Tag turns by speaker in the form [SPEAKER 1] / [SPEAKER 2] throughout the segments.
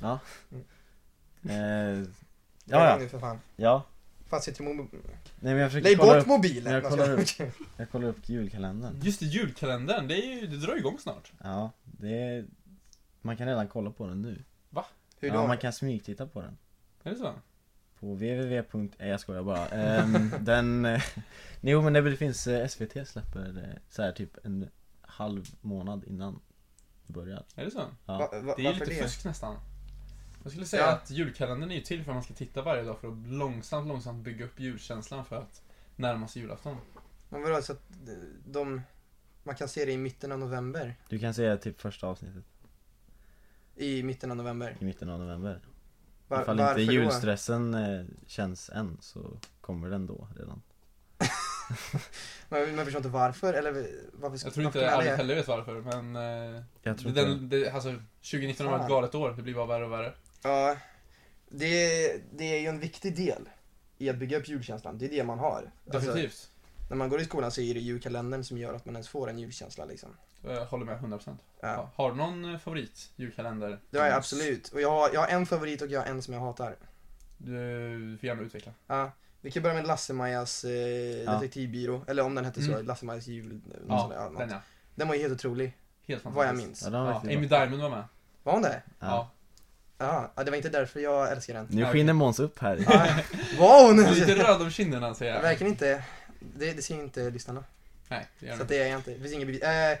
[SPEAKER 1] Ja. Eh,
[SPEAKER 2] Spela
[SPEAKER 1] ja,
[SPEAKER 2] in
[SPEAKER 1] ja,
[SPEAKER 2] det för fan.
[SPEAKER 1] ja.
[SPEAKER 2] Fan sitter du med...
[SPEAKER 1] Nej men jag försöker
[SPEAKER 2] Lägg
[SPEAKER 1] kolla
[SPEAKER 2] bort
[SPEAKER 1] upp,
[SPEAKER 2] mobilen! alltså.
[SPEAKER 1] jag kollar upp. jag kollar upp julkalendern.
[SPEAKER 3] Just det, julkalendern, det, är ju, det drar igång snart.
[SPEAKER 1] Ja, det är, man kan redan kolla på den nu.
[SPEAKER 2] Hur
[SPEAKER 1] ja,
[SPEAKER 2] då?
[SPEAKER 1] man kan smygtitta på den.
[SPEAKER 3] Är det så?
[SPEAKER 1] På www. Nej jag skojar bara. Ehm, den, eh, jo men det finns, eh, SVT släpper eh, så här typ en halv månad innan det börjar.
[SPEAKER 3] Är det så?
[SPEAKER 1] Ja.
[SPEAKER 2] Va, va,
[SPEAKER 3] Det är ju
[SPEAKER 2] varför
[SPEAKER 3] lite
[SPEAKER 2] det?
[SPEAKER 3] fusk nästan. Jag skulle säga
[SPEAKER 2] Ja.
[SPEAKER 3] att julkalendern är ju till för att man ska titta varje dag för att långsamt, långsamt bygga upp julkänslan för att närma sig julafton.
[SPEAKER 2] Men vadå, så att de... Man kan se det i mitten av november?
[SPEAKER 1] Du kan se typ första avsnittet
[SPEAKER 2] I mitten av november?
[SPEAKER 1] i mitten av november.
[SPEAKER 2] Var,
[SPEAKER 1] Ifall
[SPEAKER 2] varför
[SPEAKER 1] inte
[SPEAKER 2] då?
[SPEAKER 1] julstressen eh, känns än så kommer den då redan.
[SPEAKER 2] Man, man förstår inte varför, eller varför ska
[SPEAKER 3] Jag tror inte
[SPEAKER 2] varför
[SPEAKER 3] alla
[SPEAKER 2] det?
[SPEAKER 3] heller vet varför, men... eh,
[SPEAKER 1] Jag tror inte
[SPEAKER 3] Den, det, alltså, 2019 har
[SPEAKER 2] Fan.
[SPEAKER 3] varit
[SPEAKER 2] Alltså-
[SPEAKER 3] ett galet år, det blir bara värre och värre.
[SPEAKER 2] Ja, det, det är ju en viktig del i att bygga upp julkänslan. Det är det man har. Alltså,
[SPEAKER 3] Definitivt.
[SPEAKER 2] när man går i skolan så är det julkalendern som gör att man ens får en julkänsla liksom.
[SPEAKER 3] Jag håller med 100%.
[SPEAKER 2] Ja.
[SPEAKER 3] Ja. Har du någon eh, favorit julkalender?
[SPEAKER 2] Det har jag absolut. Och jag har, jag har en favorit och jag har en som jag hatar.
[SPEAKER 3] Du får gärna utveckla.
[SPEAKER 2] Ja, vi kan börja med Lasse-Majas eh,
[SPEAKER 1] Ja.
[SPEAKER 2] detektivbyrå, eller om den hette så,
[SPEAKER 3] Mm.
[SPEAKER 2] Lasse-Majas jul... någon
[SPEAKER 3] Ja,
[SPEAKER 2] sån där, ja, något.
[SPEAKER 3] den ja.
[SPEAKER 2] den var ju helt otrolig,
[SPEAKER 3] Helt fantastisk.
[SPEAKER 2] vad jag minns.
[SPEAKER 1] Ja, den var
[SPEAKER 3] Ja,
[SPEAKER 1] riktigt
[SPEAKER 3] Amy
[SPEAKER 1] bra.
[SPEAKER 3] Diamond var med.
[SPEAKER 2] Var hon det?
[SPEAKER 1] Ja.
[SPEAKER 3] Ja.
[SPEAKER 2] Jaha, ja, det var inte därför jag älskar den.
[SPEAKER 1] Nu skiner Måns upp här.
[SPEAKER 2] Ja, var hon
[SPEAKER 3] Lite
[SPEAKER 2] det?
[SPEAKER 3] röd om kinderna säger jag.
[SPEAKER 2] Verkligen inte. Det, det ser ju inte lyssnarna.
[SPEAKER 3] Nej, det gör
[SPEAKER 2] Så
[SPEAKER 3] den
[SPEAKER 2] att
[SPEAKER 3] inte.
[SPEAKER 2] det är jag inte. Det finns inget bevis. Eh,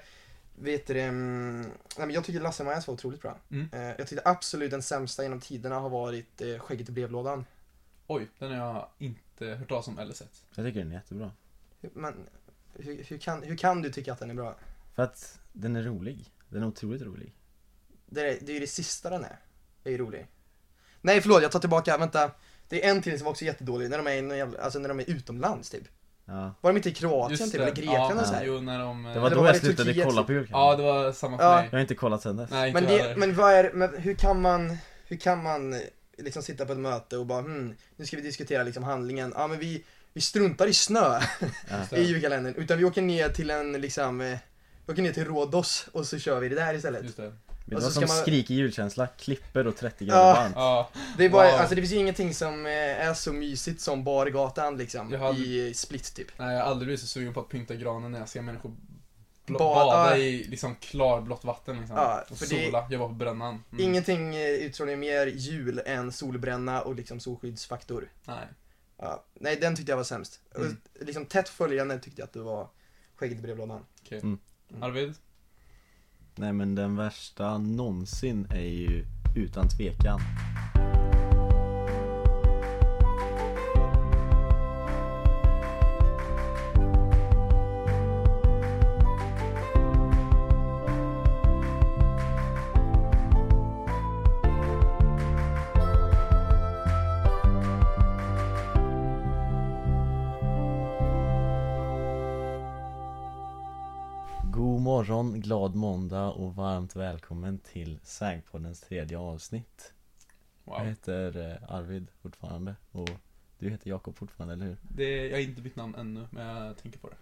[SPEAKER 2] vet du det, mm, nej, men Jag tycker Lasse-Majas var otroligt bra.
[SPEAKER 3] Mm.
[SPEAKER 2] Eh, jag tyckte absolut den sämsta genom tiderna har varit eh, Skägget i brevlådan.
[SPEAKER 3] Oj, den har jag inte hört talas om eller sett.
[SPEAKER 1] Jag tycker den är jättebra.
[SPEAKER 2] Hur- Men hur, hur, kan, hur kan du tycka att den är bra?
[SPEAKER 1] För att den är rolig. Den är otroligt rolig.
[SPEAKER 2] Det är, det är ju det sista den är. Det är ju rolig. Nej förlåt, jag tar tillbaka, vänta. Det är en till som också är jättedålig, när de är, i någon jävla, alltså när de är utomlands typ.
[SPEAKER 1] Ja.
[SPEAKER 2] Var de inte i Kroatien typ,
[SPEAKER 3] Just det.
[SPEAKER 2] eller Grekland
[SPEAKER 3] ja,
[SPEAKER 2] och så här?
[SPEAKER 3] Jo, när de... eh,
[SPEAKER 1] Det var
[SPEAKER 2] det
[SPEAKER 1] då
[SPEAKER 2] var
[SPEAKER 1] jag
[SPEAKER 2] i
[SPEAKER 1] slutade
[SPEAKER 2] Turkiet
[SPEAKER 1] kolla
[SPEAKER 2] som-
[SPEAKER 1] på
[SPEAKER 3] Ja,
[SPEAKER 1] julkalendern.
[SPEAKER 3] det var samma för
[SPEAKER 2] Ja.
[SPEAKER 3] mig.
[SPEAKER 1] Jag har inte kollat sen dess.
[SPEAKER 3] Nej, inte
[SPEAKER 2] Men,
[SPEAKER 3] jag
[SPEAKER 2] det,
[SPEAKER 3] heller.
[SPEAKER 2] men vad är, men hur kan man, hur kan man liksom sitta på ett möte och bara hmm, nu ska vi diskutera liksom handlingen, ja men vi, vi struntar i snö
[SPEAKER 3] Just
[SPEAKER 2] i
[SPEAKER 3] det.
[SPEAKER 2] julkalendern, utan vi åker ner till en liksom, eh, vi åker ner till Rhodos och så kör vi det där istället.
[SPEAKER 3] Just det.
[SPEAKER 1] Vet du
[SPEAKER 2] Och
[SPEAKER 1] vad
[SPEAKER 2] så
[SPEAKER 1] som
[SPEAKER 2] ska man-
[SPEAKER 1] skriker julkänsla? Klipper och 30 grader
[SPEAKER 2] Ja.
[SPEAKER 1] varmt.
[SPEAKER 3] Ja,
[SPEAKER 2] Det, är bara,
[SPEAKER 3] Wow.
[SPEAKER 2] alltså, det finns ju ingenting som eh, är så mysigt som bargatan liksom,
[SPEAKER 3] Jag hade-
[SPEAKER 2] i eh, Split typ.
[SPEAKER 3] nej, jag har aldrig blivit så sugen på att pynta granen när jag ser människor bla-
[SPEAKER 2] Ba-
[SPEAKER 3] bada
[SPEAKER 2] ja.
[SPEAKER 3] i liksom klarblått vatten liksom.
[SPEAKER 2] Ja,
[SPEAKER 3] och
[SPEAKER 2] för det-
[SPEAKER 3] sola. Jag var på brännan. Mm.
[SPEAKER 2] Ingenting eh, utstrålar mer jul än solbränna och liksom solskyddsfaktor.
[SPEAKER 3] Nej.
[SPEAKER 2] Ja. Nej, den tyckte jag var sämst.
[SPEAKER 3] Mm.
[SPEAKER 2] Och, liksom tätt följande tyckte jag att det var Skägget i brevlådan.
[SPEAKER 3] Okej.
[SPEAKER 1] Mm.
[SPEAKER 3] Arvid?
[SPEAKER 1] Nej men den värsta någonsin är ju utan tvekan. God morgon, glad måndag och varmt välkommen till Sägpoddens tredje avsnitt. Jag
[SPEAKER 3] Wow.
[SPEAKER 1] heter eh, Arvid fortfarande och du heter Jakob fortfarande, eller hur?
[SPEAKER 3] Det, jag har inte bytt namn ännu, men jag tänker på det.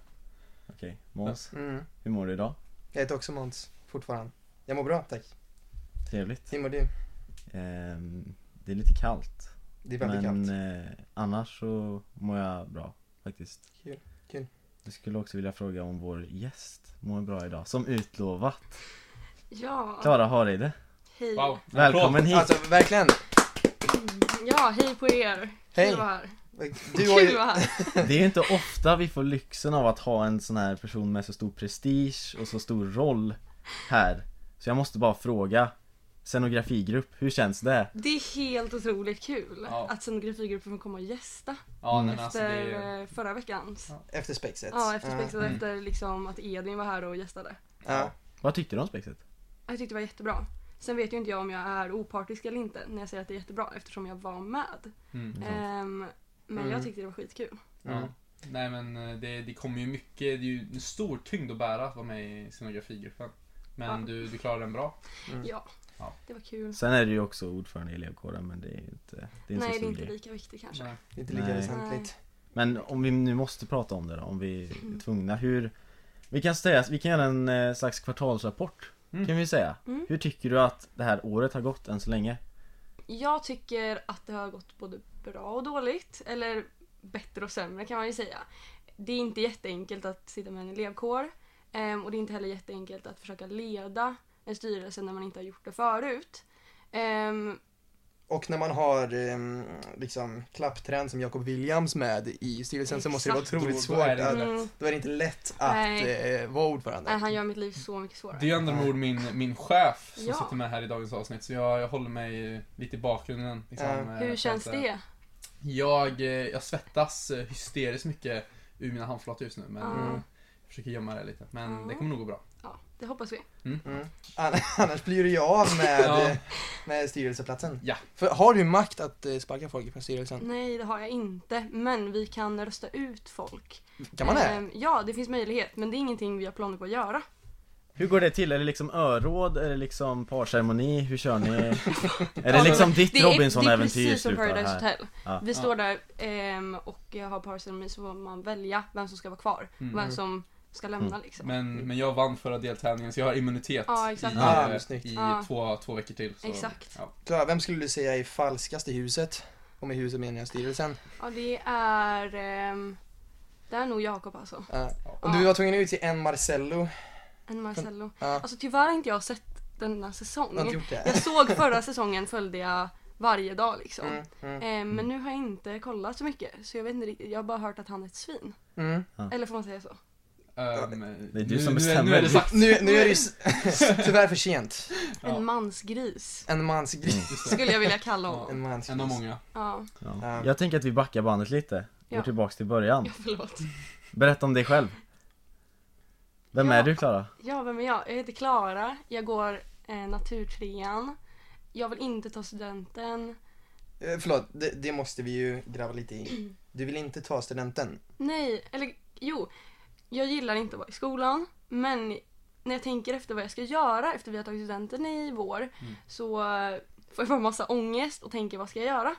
[SPEAKER 1] Okej, Måns,
[SPEAKER 2] Mm.
[SPEAKER 1] hur mår du idag?
[SPEAKER 2] Jag heter också Måns, fortfarande. Jag mår bra, tack.
[SPEAKER 1] Trevligt.
[SPEAKER 2] Hur mår du?
[SPEAKER 1] Ehm, det är lite kallt.
[SPEAKER 2] Det är väldigt
[SPEAKER 1] men
[SPEAKER 2] kallt.
[SPEAKER 1] eh, annars så mår jag bra faktiskt.
[SPEAKER 2] Kul, kul.
[SPEAKER 1] Jag skulle också vilja fråga om vår gäst mår bra idag, som utlovat.
[SPEAKER 4] Ja,
[SPEAKER 1] Klara Hareide,
[SPEAKER 4] hej.
[SPEAKER 3] Wow.
[SPEAKER 1] välkommen hit!
[SPEAKER 2] Alltså verkligen.
[SPEAKER 4] Ja, hej på er.
[SPEAKER 2] Hej.
[SPEAKER 4] Kul att vara här.
[SPEAKER 2] Du har
[SPEAKER 4] Kul
[SPEAKER 2] ju...
[SPEAKER 4] att vara här.
[SPEAKER 1] Det är ju inte ofta vi får lyxen av att ha en sån här person med så stor prestige och så stor roll här. Så jag måste bara fråga, scenografigrupp, hur känns det?
[SPEAKER 4] Det är helt otroligt kul
[SPEAKER 3] Ja.
[SPEAKER 4] att scenografigruppen får komma och gästa
[SPEAKER 3] Ja, nej,
[SPEAKER 1] Mm.
[SPEAKER 3] men alltså
[SPEAKER 4] efter
[SPEAKER 3] det är...
[SPEAKER 4] eh, förra veckans.
[SPEAKER 3] Ja.
[SPEAKER 4] Ja,
[SPEAKER 2] Efter spexet.
[SPEAKER 4] efter spexet
[SPEAKER 3] Mm.
[SPEAKER 4] efter liksom att Edvin var här och gästade.
[SPEAKER 2] Ja.
[SPEAKER 1] Vad tyckte du om spexet?
[SPEAKER 4] Jag tyckte det var jättebra. Sen vet ju inte jag om jag är opartisk eller inte när jag säger att det är jättebra eftersom jag var med.
[SPEAKER 3] Mm.
[SPEAKER 4] Ehm, men
[SPEAKER 2] Mm.
[SPEAKER 4] jag tyckte det var skitkul.
[SPEAKER 2] Ja. Mm.
[SPEAKER 3] Ja. Nej men eh, det, det kommer ju mycket, det är ju en stor tyngd att bära att vara med i scenografigruppen. Men
[SPEAKER 4] Ja.
[SPEAKER 3] du, du klarar den bra.
[SPEAKER 2] Mm.
[SPEAKER 4] Ja,
[SPEAKER 3] Ja.
[SPEAKER 4] det var kul.
[SPEAKER 1] Sen är du ju också ordförande i elevkåren men det är ju inte, det är inte
[SPEAKER 4] Nej,
[SPEAKER 1] så
[SPEAKER 4] det är
[SPEAKER 1] stor
[SPEAKER 4] inte
[SPEAKER 1] grej.
[SPEAKER 4] lika viktigt kanske.
[SPEAKER 3] Nej.
[SPEAKER 2] Det är inte lika
[SPEAKER 1] Nej.
[SPEAKER 2] väsentligt.
[SPEAKER 1] Men om vi nu måste prata om det då, om vi är tvungna, hur Vi kan säga, vi kan göra en eh, slags kvartalsrapport
[SPEAKER 3] Mm.
[SPEAKER 1] kan vi säga.
[SPEAKER 4] Mm.
[SPEAKER 1] Hur tycker du att det här året har gått än så länge?
[SPEAKER 4] Jag tycker att det har gått både bra och dåligt. Eller bättre och sämre kan man ju säga. Det är inte jätteenkelt att sitta med en elevkår. ehm, Och det är inte heller jätteenkelt att försöka leda en styrelse när man inte har gjort det förut. Ehm,
[SPEAKER 2] Och när man har ehm, liksom klappträn som Jacob Williams med i styrelsen så måste det vara
[SPEAKER 4] Exakt.
[SPEAKER 2] otroligt
[SPEAKER 3] Då- då
[SPEAKER 2] svårt.
[SPEAKER 3] är det
[SPEAKER 2] att-
[SPEAKER 3] lätt.
[SPEAKER 4] Mm,
[SPEAKER 2] Då är det inte lätt att
[SPEAKER 4] Nej.
[SPEAKER 2] eh, vara ordförande.
[SPEAKER 4] nej, han gör mitt liv så mycket svårare.
[SPEAKER 3] Det är ju andra ord min, min chef som
[SPEAKER 4] Ja.
[SPEAKER 3] sitter med här i dagens avsnitt, så jag, jag håller mig lite i bakgrunden. Liksom,
[SPEAKER 2] Ja.
[SPEAKER 3] eh, för
[SPEAKER 4] Hur
[SPEAKER 3] att,
[SPEAKER 4] känns
[SPEAKER 3] eh,
[SPEAKER 4] det?
[SPEAKER 3] Jag, eh, jag svettas eh, hysteriskt mycket ur mina handflator just nu, men
[SPEAKER 4] Ja.
[SPEAKER 3] eh, jag försöker gömma det lite. Men
[SPEAKER 4] Ja.
[SPEAKER 3] det kommer nog gå bra.
[SPEAKER 4] Ja, det hoppas vi.
[SPEAKER 2] Mm. An- Annars blir du av med,
[SPEAKER 3] Ja.
[SPEAKER 2] eh, med styrelseplatsen.
[SPEAKER 3] Ja.
[SPEAKER 2] För har du makt att eh, sparka folk från styrelsen?
[SPEAKER 4] Nej, det har jag inte. Men vi kan rösta ut folk.
[SPEAKER 2] Kan man det?
[SPEAKER 4] Ehm, Ja, det finns möjlighet. Men det är ingenting vi har planer på att göra.
[SPEAKER 1] Hur går det till? Är det liksom öråd? Är det liksom parceremoni? Hur kör ni? är det liksom ditt
[SPEAKER 4] Det är, det är
[SPEAKER 1] Robinson-äventyr
[SPEAKER 4] precis som
[SPEAKER 1] slutar
[SPEAKER 4] Paradise
[SPEAKER 1] här?
[SPEAKER 4] Hotel.
[SPEAKER 1] Ja.
[SPEAKER 4] Vi står där ehm, och har parceremoni så får man välja vem som ska vara kvar.
[SPEAKER 3] Mm.
[SPEAKER 4] Vem som ska lämna
[SPEAKER 1] Mm.
[SPEAKER 4] liksom.
[SPEAKER 3] Men, men jag vann förra deltävlingen, så jag har immunitet
[SPEAKER 4] Ja, exakt.
[SPEAKER 3] i,
[SPEAKER 2] Ah,
[SPEAKER 3] eh,
[SPEAKER 2] snyggt.
[SPEAKER 3] i
[SPEAKER 4] Ja.
[SPEAKER 3] två, två veckor till. Så,
[SPEAKER 4] Exakt.
[SPEAKER 3] Ja.
[SPEAKER 2] Klara, vem skulle du säga är falskast i huset? Och med huset menar jag styrelsen.
[SPEAKER 4] Ja, det är... ehm, det är nog Jakob alltså.
[SPEAKER 2] Ja. om
[SPEAKER 4] Ja.
[SPEAKER 2] du var tvungen att utse en Marcello.
[SPEAKER 4] En Marcello.
[SPEAKER 2] Ja.
[SPEAKER 4] Alltså tyvärr har inte jag sett denna
[SPEAKER 2] Du har inte
[SPEAKER 4] säsong.
[SPEAKER 2] gjort det?
[SPEAKER 4] Mm. Jag såg förra säsongen följde jag varje dag liksom.
[SPEAKER 2] Mm, mm,
[SPEAKER 4] Ehm, men nu har jag inte kollat så mycket så jag vet inte riktigt. Jag har bara hört att han är ett svin.
[SPEAKER 2] mm.
[SPEAKER 4] Eller får man säga så?
[SPEAKER 3] Ehm,
[SPEAKER 1] Det är du
[SPEAKER 3] nu-
[SPEAKER 1] som
[SPEAKER 3] nu
[SPEAKER 1] bestämmer.
[SPEAKER 3] Nu är det sagt.
[SPEAKER 2] Nu, nu är det ju s- tyvärr för sent.
[SPEAKER 3] Ja.
[SPEAKER 4] En mansgris
[SPEAKER 2] En mansgris.
[SPEAKER 3] Just det.
[SPEAKER 4] skulle jag vilja kalla honom.
[SPEAKER 2] En mansgris.
[SPEAKER 3] Mm. En av många.
[SPEAKER 4] Ja,
[SPEAKER 1] Ja.
[SPEAKER 2] Ja.
[SPEAKER 1] Jag tänker att vi backar bandet lite. Går
[SPEAKER 4] Ja.
[SPEAKER 1] tillbaks till början.
[SPEAKER 4] ja förlåt.
[SPEAKER 1] Berätta om dig själv. Vem
[SPEAKER 4] Ja.
[SPEAKER 1] är du Klara?
[SPEAKER 4] Ja, vem är jag? Jag heter Klara. Jag går eh, naturtrean. Jag vill inte ta studenten.
[SPEAKER 2] Eh, Förlåt, det, det måste vi ju gräva lite i. Du vill inte ta studenten?
[SPEAKER 4] Nej, eller jo. Jag gillar inte att vara i skolan. Men när jag tänker efter vad jag ska göra efter vi har tagit studenten i vår så eh, får jag bara massa ångest och tänker vad ska jag göra?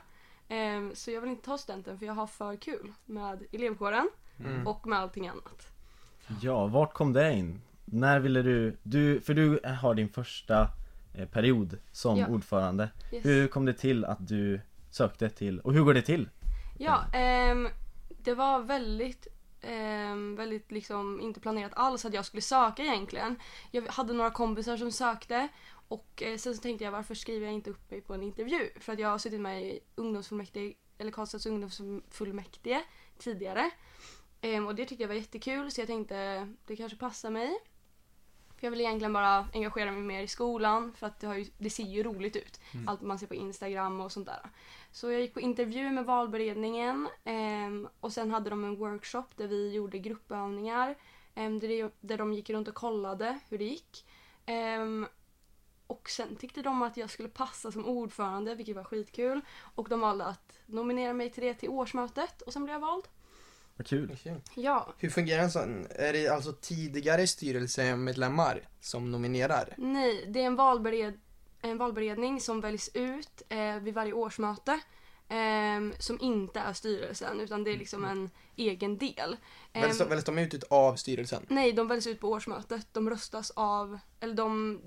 [SPEAKER 4] Ehm, så jag vill inte ta studenten för jag har för kul med elevkåren
[SPEAKER 2] Mm.
[SPEAKER 4] och med allting annat.
[SPEAKER 1] Ja, vart kom det in? När ville du, du för du har din första eh, period som
[SPEAKER 4] Ja.
[SPEAKER 1] ordförande.
[SPEAKER 4] Yes.
[SPEAKER 1] Hur kom det till att du sökte till, och hur går det till?
[SPEAKER 4] Ja, ehm, det var väldigt, ehm, väldigt liksom inte planerat alls att jag skulle söka egentligen. Jag hade några kompisar som sökte och eh, sen så tänkte jag varför skriver jag inte upp mig på en intervju? För att jag har suttit med i ungdomsfullmäktige, eller Karlstads ungdomsfullmäktige tidigare. Ehm, och det tyckte jag var jättekul så jag tänkte det kanske passar mig. För jag vill egentligen bara engagera mig mer i skolan för att det, har ju, det ser ju roligt ut. Allt man ser på Instagram och sånt där. Så jag gick på intervju med valberedningen ehm, och sen hade de en workshop där vi gjorde gruppövningar ehm, där, det, där de gick runt och kollade hur det gick. Ehm, och sen tyckte de att jag skulle passa som ordförande, vilket var skitkul. Och de valde att nominera mig till det till årsmötet och sen blev jag vald.
[SPEAKER 1] Vad kul.
[SPEAKER 4] Ja.
[SPEAKER 2] Hur fungerar en sån? Är det alltså tidigare styrelsemedlemmar som nominerar?
[SPEAKER 4] Nej, det är en, valbered, en valberedning som väljs ut eh, vid varje årsmöte ehm, som inte är styrelsen utan det är liksom en egen del. Ehm,
[SPEAKER 2] Väljs de- väljs de ut av styrelsen?
[SPEAKER 4] Nej, de väljs ut på årsmötet. De röstas av, eller de,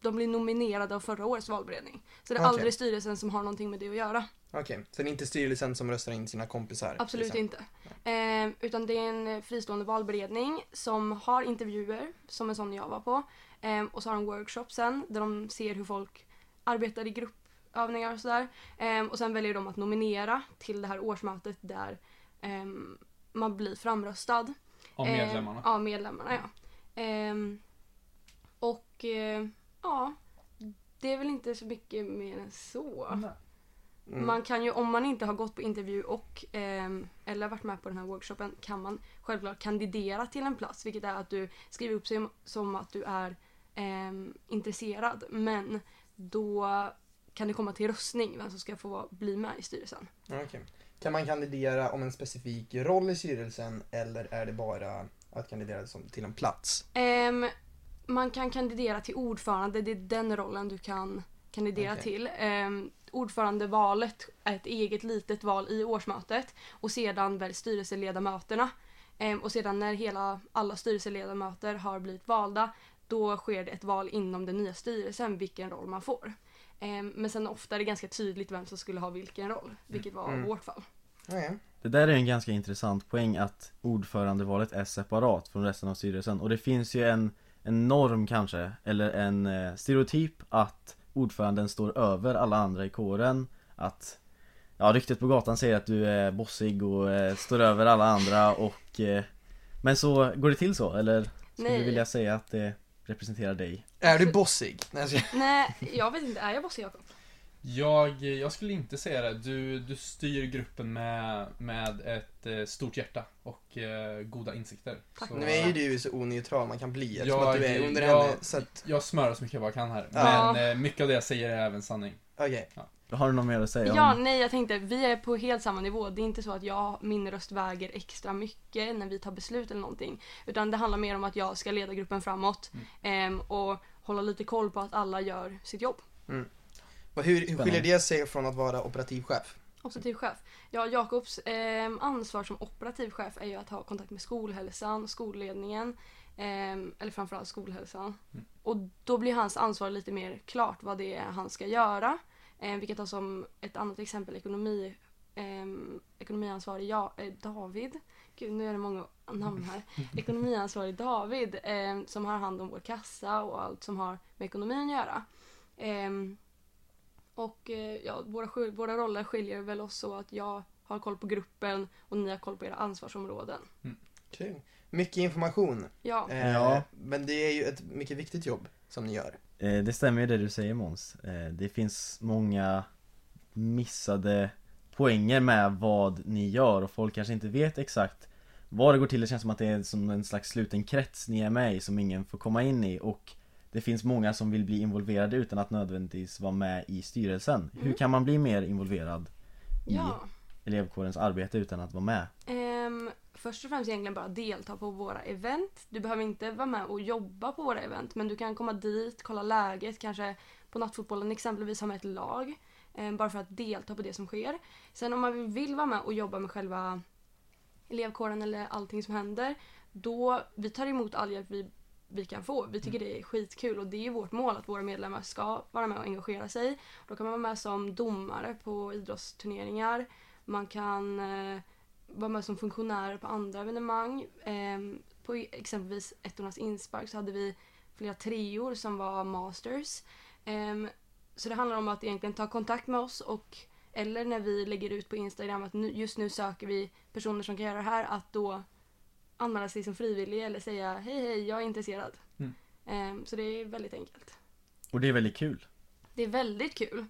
[SPEAKER 4] de blir nominerade av förra årets valberedning. Så det är
[SPEAKER 2] Okej.
[SPEAKER 4] aldrig styrelsen som har någonting med det att göra.
[SPEAKER 2] Okej, så det är inte styrelsen som röstar in sina kompisar?
[SPEAKER 4] Absolut
[SPEAKER 2] liksom.
[SPEAKER 4] inte. Ehm, utan det är en fristående valberedning som har intervjuer, som en sån jag var på. Ehm, och så har de workshop sen där de ser hur folk arbetar i gruppövningar och sådär. Ehm, och sen väljer de att nominera till det här årsmötet där ehm, man blir framröstad.
[SPEAKER 3] Av
[SPEAKER 4] Eh,
[SPEAKER 3] medlemmarna.
[SPEAKER 4] Ja, medlemmarna ja. Ehm, och eh, ja, det är väl inte så mycket mer än så.
[SPEAKER 2] Mm.
[SPEAKER 4] Man kan ju, om man inte har gått på intervju och ehm, eller varit med på den här workshopen kan man självklart kandidera till en plats vilket är att du skriver upp sig som att du är ehm, intresserad men då kan det komma till röstning vem som ska få vara- bli med i styrelsen.
[SPEAKER 2] Mm, Okej. Kan man kandidera om en specifik roll i styrelsen eller är det bara att kandidera som, till en plats?
[SPEAKER 4] Ehm, man kan kandidera till ordförande, det är den rollen du kan kandidera
[SPEAKER 2] Okej.
[SPEAKER 4] till. Ehm, ordförandevalet är ett eget litet val i årsmötet och sedan väljs styrelseledamöterna. Ehm, och sedan när hela, alla styrelseledamöter har blivit valda då sker det ett val inom den nya styrelsen vilken roll man får. Ehm, men sen ofta är det ganska tydligt vem som skulle ha vilken roll, vilket var
[SPEAKER 2] Mm.
[SPEAKER 4] vårt fall.
[SPEAKER 2] Nej.
[SPEAKER 1] Det där är en ganska intressant poäng att ordförandevalet är separat från resten av styrelsen och det finns ju en, en norm kanske, eller en eh, stereotyp att ordföranden står över alla andra i kåren att Ja, ryktet på gatan säger att du är bossig och eh, står över alla andra och eh, Men så, går det till så? Eller skulle
[SPEAKER 4] Nej.
[SPEAKER 1] du vilja säga att det representerar dig?
[SPEAKER 2] Är du bossig? Nej, jag skojar.
[SPEAKER 4] Nej, jag vet inte, är jag bosse Jakob?
[SPEAKER 3] Jag, jag skulle inte säga det. Du, du styr gruppen med, med ett eh, stort hjärta och eh, goda insikter.
[SPEAKER 4] Tack.
[SPEAKER 2] Nu är ju du så oneutral man kan bli eftersom
[SPEAKER 3] Jag-
[SPEAKER 2] att du är under
[SPEAKER 3] jag-
[SPEAKER 2] henne. Så att,
[SPEAKER 3] Jag smörjer så mycket jag bara kan här.
[SPEAKER 4] Ja.
[SPEAKER 3] Men eh, mycket av det jag säger är även sanning.
[SPEAKER 2] okej.
[SPEAKER 1] Har du något mer att säga
[SPEAKER 4] Ja,
[SPEAKER 1] om?
[SPEAKER 4] nej jag tänkte vi är på helt samma nivå. Det är inte så att jag, min röst väger extra mycket när vi tar beslut eller någonting. Utan det handlar mer om att jag ska leda gruppen framåt
[SPEAKER 1] Mm.
[SPEAKER 4] ehm, och hålla lite koll på att alla gör sitt jobb.
[SPEAKER 2] Och hur, hur skiljer det sig från att vara operativ chef?
[SPEAKER 4] Operativ chef. Ja, Jakobs ehm, ansvar som operativ chef är ju att ha kontakt med skolhälsan, skolledningen, ehm, eller framförallt skolhälsan. Och då blir hans ansvar lite mer klart vad det är han ska göra. Eh, vi kan ta som ett annat exempel ekonomi, ehm, ekonomiansvarig ja, eh, David. Gud, nu är det många namn här. Ekonomiansvarig David ehm, som har hand om vår kassa och allt som har med ekonomin att göra. Ehm, och eh, ja, våra, skil- våra roller skiljer väl oss så att jag har koll på gruppen och ni har koll på era ansvarsområden.
[SPEAKER 2] Kul. Mycket information.
[SPEAKER 4] Ja,
[SPEAKER 2] Eh,
[SPEAKER 1] Ja.
[SPEAKER 2] Men det är ju ett mycket viktigt jobb som ni gör.
[SPEAKER 1] Eh, Det stämmer ju det du säger Måns. Eh, Det finns många missade poänger med vad ni gör och folk kanske inte vet exakt vad det går till. Det känns som att det är som en slags sluten krets ni är med i som ingen får komma in i och det finns många som vill bli involverade utan att nödvändigtvis vara med i styrelsen. Hur kan man bli mer involverad i
[SPEAKER 4] Mm. ja.
[SPEAKER 1] elevkårens arbete utan att vara med?
[SPEAKER 4] Ehm, först och främst egentligen bara delta på våra event. Du behöver inte vara med och jobba på våra event men du kan komma dit, kolla läget, kanske på nattfotbollen exempelvis ha med ett lag. ehm, bara för att delta på det som sker. Sen om man vill vara med och jobba med själva elevkåren eller allting som händer då vi tar emot all hjälp vi, vi kan få. Vi tycker det är skitkul och det är vårt mål att våra medlemmar ska vara med och engagera sig. Då kan man vara med som domare på idrottsturneringar. Man kan eh, vara med som funktionärer på andra evenemang. Ehm, på i- exempelvis ettornas inspark så hade vi flera treor som var masters. Ehm, så det handlar om att egentligen ta kontakt med oss och eller när vi lägger ut på Instagram att nu, just nu söker vi personer som kan göra det här att då anmäla sig som frivillig eller säga hej hej jag är intresserad.
[SPEAKER 3] Mm.
[SPEAKER 4] Ehm, så det är väldigt enkelt.
[SPEAKER 1] Och det är väldigt kul.
[SPEAKER 4] Det är väldigt kul.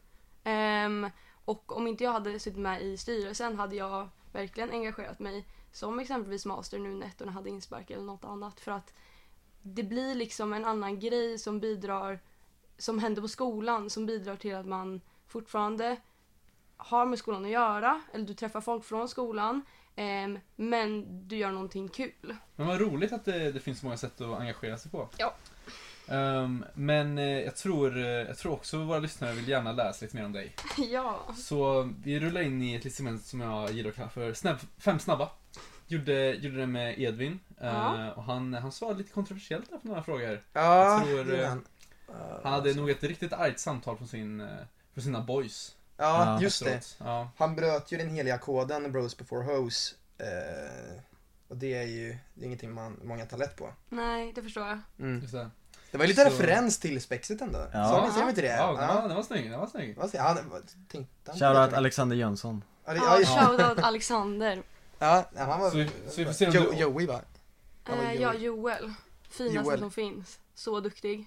[SPEAKER 4] Ehm, och om inte jag hade suttit med i styrelsen hade jag verkligen engagerat mig som exempelvis master nu när ettorna hade inspark eller något annat för att det blir liksom en annan grej som bidrar som händer på skolan som bidrar till att man fortfarande har med skolan att göra eller du träffar folk från skolan ehm, men du gör någonting kul.
[SPEAKER 3] Men vad roligt att det, det finns så många sätt att engagera sig på.
[SPEAKER 4] Ja.
[SPEAKER 3] Ehm, men eh, jag tror, eh, jag tror också våra lyssnare vill gärna lära sig lite mer om dig.
[SPEAKER 4] ja.
[SPEAKER 3] Så vi rullar in i ett litet segment som jag gillar att kalla för snabb, Fem snabba. Gjorde, gjorde det med Edvin. eh,
[SPEAKER 4] Ja.
[SPEAKER 3] och han, han svarade lite kontroversiellt där på några frågor.
[SPEAKER 2] Ja,
[SPEAKER 3] Jag tror,
[SPEAKER 2] det är
[SPEAKER 3] eh,
[SPEAKER 2] han.
[SPEAKER 3] Han hade nog ett riktigt argt samtal från, sin, eh, från sina boys.
[SPEAKER 2] ja,
[SPEAKER 1] Ja.
[SPEAKER 2] just det.
[SPEAKER 3] efteråt. Ja.
[SPEAKER 2] Han bröt ju den heliga koden, Bros before hoes. Eh, och det är ju det är ingenting man, många tar lätt på.
[SPEAKER 4] Nej, det förstår jag.
[SPEAKER 2] Mm.
[SPEAKER 3] Just det.
[SPEAKER 2] Det var ju lite
[SPEAKER 3] Så-
[SPEAKER 2] referens till spexet ändå.
[SPEAKER 1] Ja.
[SPEAKER 2] Sa vi- Säger vi inte det?
[SPEAKER 3] Ja, den var,
[SPEAKER 2] Ja.
[SPEAKER 3] den var snygg. Den var snygg.
[SPEAKER 2] Vad säger han? Vad tänkte han?
[SPEAKER 1] Shoutout Alexander Jönsson.
[SPEAKER 2] Ja,
[SPEAKER 4] Ja,
[SPEAKER 2] just-
[SPEAKER 4] shoutout Alexander.
[SPEAKER 2] Ja, nej, han var...
[SPEAKER 3] Så vi- så vi får se om
[SPEAKER 2] jo,
[SPEAKER 3] du-
[SPEAKER 2] Joey va? Han var
[SPEAKER 4] Eh,
[SPEAKER 2] Joel.
[SPEAKER 4] ja, Joel. Finaste
[SPEAKER 2] Joel.
[SPEAKER 4] som finns. Så duktig.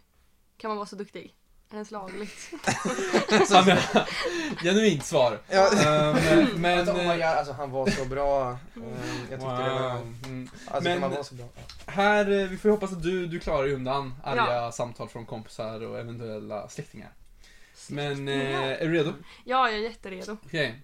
[SPEAKER 4] Kan man vara så duktig? Är det ens lagligt?
[SPEAKER 3] Ja, men- Genuint svar.
[SPEAKER 2] Ja.
[SPEAKER 3] Ehm, men...
[SPEAKER 2] alltså, oh my God,
[SPEAKER 3] eh,
[SPEAKER 2] alltså han var så bra. Eh, jag tyckte det var...
[SPEAKER 3] wow. Mm.
[SPEAKER 2] Alltså
[SPEAKER 3] Men-
[SPEAKER 2] men... han var så bra.
[SPEAKER 3] Här, eh, vi får ju hoppas att du, du klarar dig undan arga samtal från kompisar och eventuella släktingar. Men, eh, är du redo?
[SPEAKER 4] Ja, jag är jätteredo.
[SPEAKER 3] Okej.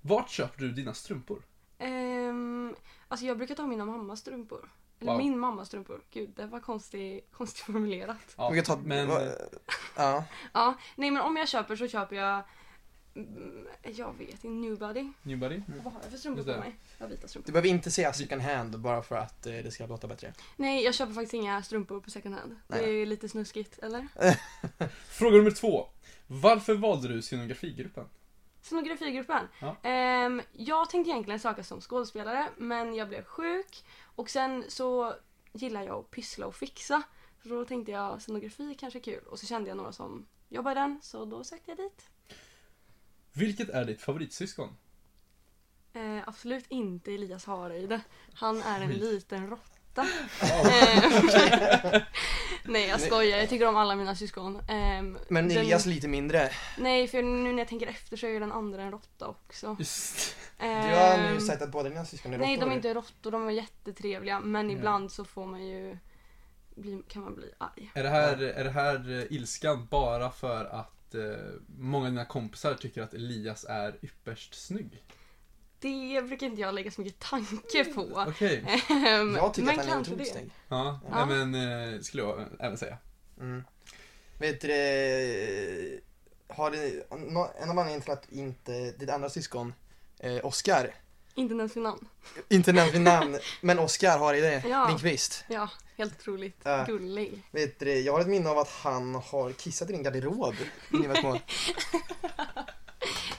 [SPEAKER 3] Vart köper du dina strumpor?
[SPEAKER 4] Um, alltså jag brukar ta mina mammas strumpor. Eller
[SPEAKER 3] Wow.
[SPEAKER 4] min mammas strumpor. Gud, det var konstigt, konstigt formulerat.
[SPEAKER 3] Ja,
[SPEAKER 2] Vi kan ta...
[SPEAKER 3] men, eh,
[SPEAKER 2] va- Ja.
[SPEAKER 4] Ja, nej men om jag köper så köper jag Mm, Jag vet inte, Newbody.
[SPEAKER 3] Newbody?
[SPEAKER 4] Vad har jag för strumpor
[SPEAKER 3] Just det.
[SPEAKER 4] på mig? Jag har vita
[SPEAKER 2] Du
[SPEAKER 4] strumpor.
[SPEAKER 2] behöver inte säga second hand bara för att eh, det ska låta bättre.
[SPEAKER 4] Nej, jag köper faktiskt inga strumpor på second hand. Det
[SPEAKER 2] Nej.
[SPEAKER 4] är lite snuskigt, eller?
[SPEAKER 3] Fråga nummer två. Varför valde du scenografigruppen?
[SPEAKER 4] Scenografigruppen.
[SPEAKER 3] Ja.
[SPEAKER 4] Ehm, jag tänkte egentligen söka som skådespelare men jag blev sjuk och sen så gillar jag att pyssla och fixa. Så då tänkte jag scenografi kanske är kul och så kände jag några som jobbar i den så då sökte jag dit.
[SPEAKER 3] Vilket är ditt favoritsyskon?
[SPEAKER 4] Ehm, absolut inte Elias Hareide. Han är en
[SPEAKER 3] Skit.
[SPEAKER 4] liten råtta.
[SPEAKER 3] Wow.
[SPEAKER 4] Ehm, Nej jag skojar, jag tycker om alla mina syskon. Ehm,
[SPEAKER 2] Men
[SPEAKER 4] den- Eh,
[SPEAKER 2] Elias lite mindre.
[SPEAKER 4] Nej för nu när jag tänker efter så är ju den andra en råtta också.
[SPEAKER 3] Just.
[SPEAKER 2] Du har nu
[SPEAKER 4] Ehm,
[SPEAKER 2] sagt att båda dina syskon är
[SPEAKER 4] Nej,
[SPEAKER 2] råttor.
[SPEAKER 4] de är inte råttor, de är jättetrevliga. Men
[SPEAKER 3] Ja.
[SPEAKER 4] ibland så får man ju... Bli, kan man bli arg.
[SPEAKER 3] Är det här, är det här eh, ilskan bara för att eh, många av dina kompisar tycker att Elias är ypperst snygg?
[SPEAKER 4] Det brukar inte jag lägga så mycket tanke på.
[SPEAKER 3] Okej.
[SPEAKER 4] Ehm,
[SPEAKER 2] Mm. Jag tycker
[SPEAKER 4] men
[SPEAKER 2] att han är
[SPEAKER 4] kanske
[SPEAKER 2] otroligt
[SPEAKER 4] det.
[SPEAKER 2] snygg.
[SPEAKER 3] Ja,
[SPEAKER 4] Ja.
[SPEAKER 3] Nej, men eh, skulle jag även säga.
[SPEAKER 2] Mm. Vet du det, har det, nå- en av anledningarna till att inte ditt andra syskon, eh, Oscar,
[SPEAKER 4] Inte ens vid namn.
[SPEAKER 2] inte nämnt vid namn, men Oscar har i det,
[SPEAKER 4] Ja.
[SPEAKER 2] Lindqvist.
[SPEAKER 4] Ja, helt otroligt.
[SPEAKER 2] Ja.
[SPEAKER 4] Gullig.
[SPEAKER 2] Vet du det, jag har ett minne av att han har kissat i din garderob när ni var små.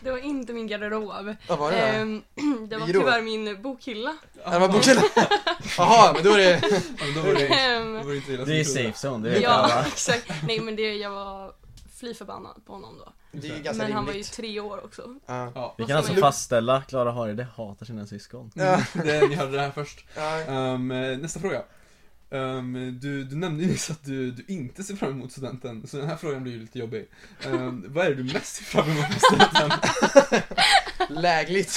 [SPEAKER 4] Det var inte min garderob.
[SPEAKER 2] Vad var det då?
[SPEAKER 4] Ehm, det var
[SPEAKER 2] Byrå.
[SPEAKER 4] tyvärr min bokhylla.
[SPEAKER 2] Ja, Det var bokhyllan. Jaha, men då är det...
[SPEAKER 3] Ja, men då var det,
[SPEAKER 4] Ehm,
[SPEAKER 3] då var det inte illa
[SPEAKER 1] Det
[SPEAKER 3] som
[SPEAKER 1] är
[SPEAKER 3] jag trodde.
[SPEAKER 1] safe zone, det vet
[SPEAKER 4] ja,
[SPEAKER 1] alla
[SPEAKER 4] exakt. Nej men det, jag var fly förbannad på honom då.
[SPEAKER 2] Det är ju
[SPEAKER 3] Men
[SPEAKER 2] ganska
[SPEAKER 4] men han var ju
[SPEAKER 2] rimligt.
[SPEAKER 4] tre år också.
[SPEAKER 2] Ja.
[SPEAKER 3] Ja.
[SPEAKER 1] Vi kan
[SPEAKER 4] Vad sa
[SPEAKER 1] alltså
[SPEAKER 4] du?
[SPEAKER 1] fastställa, Klara Haride hatar sina syskon
[SPEAKER 2] Ja.
[SPEAKER 3] Mm, det, ni hörde det här först.
[SPEAKER 2] Ja.
[SPEAKER 3] Ehm, eh, nästa fråga. Ehm, du, du nämnde ju nyss att du, du inte ser fram emot studenten, så den här frågan blir ju lite jobbig. Ehm, vad är det du mest ser fram emot med studenten?
[SPEAKER 2] Lägligt.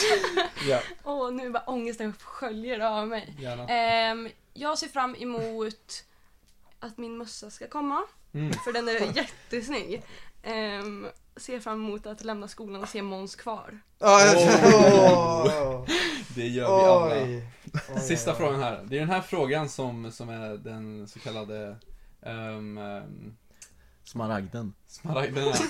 [SPEAKER 3] ja,
[SPEAKER 4] Åh, nu bara ångesten sköljer av mig.
[SPEAKER 3] gärna.
[SPEAKER 4] Ehm, jag ser fram emot att min mössa ska komma,
[SPEAKER 3] Mm.
[SPEAKER 4] för den är jättesnygg. Ehm, ser fram emot att lämna skolan och se Måns kvar.
[SPEAKER 2] Ja, jag-
[SPEAKER 3] Oh. Det gör vi alla.
[SPEAKER 2] Oj. Oj,
[SPEAKER 3] Sista
[SPEAKER 2] oj, oj.
[SPEAKER 3] frågan här. Det är den här frågan som, som är den så kallade um, um,
[SPEAKER 1] Smaragden
[SPEAKER 3] smaragden här.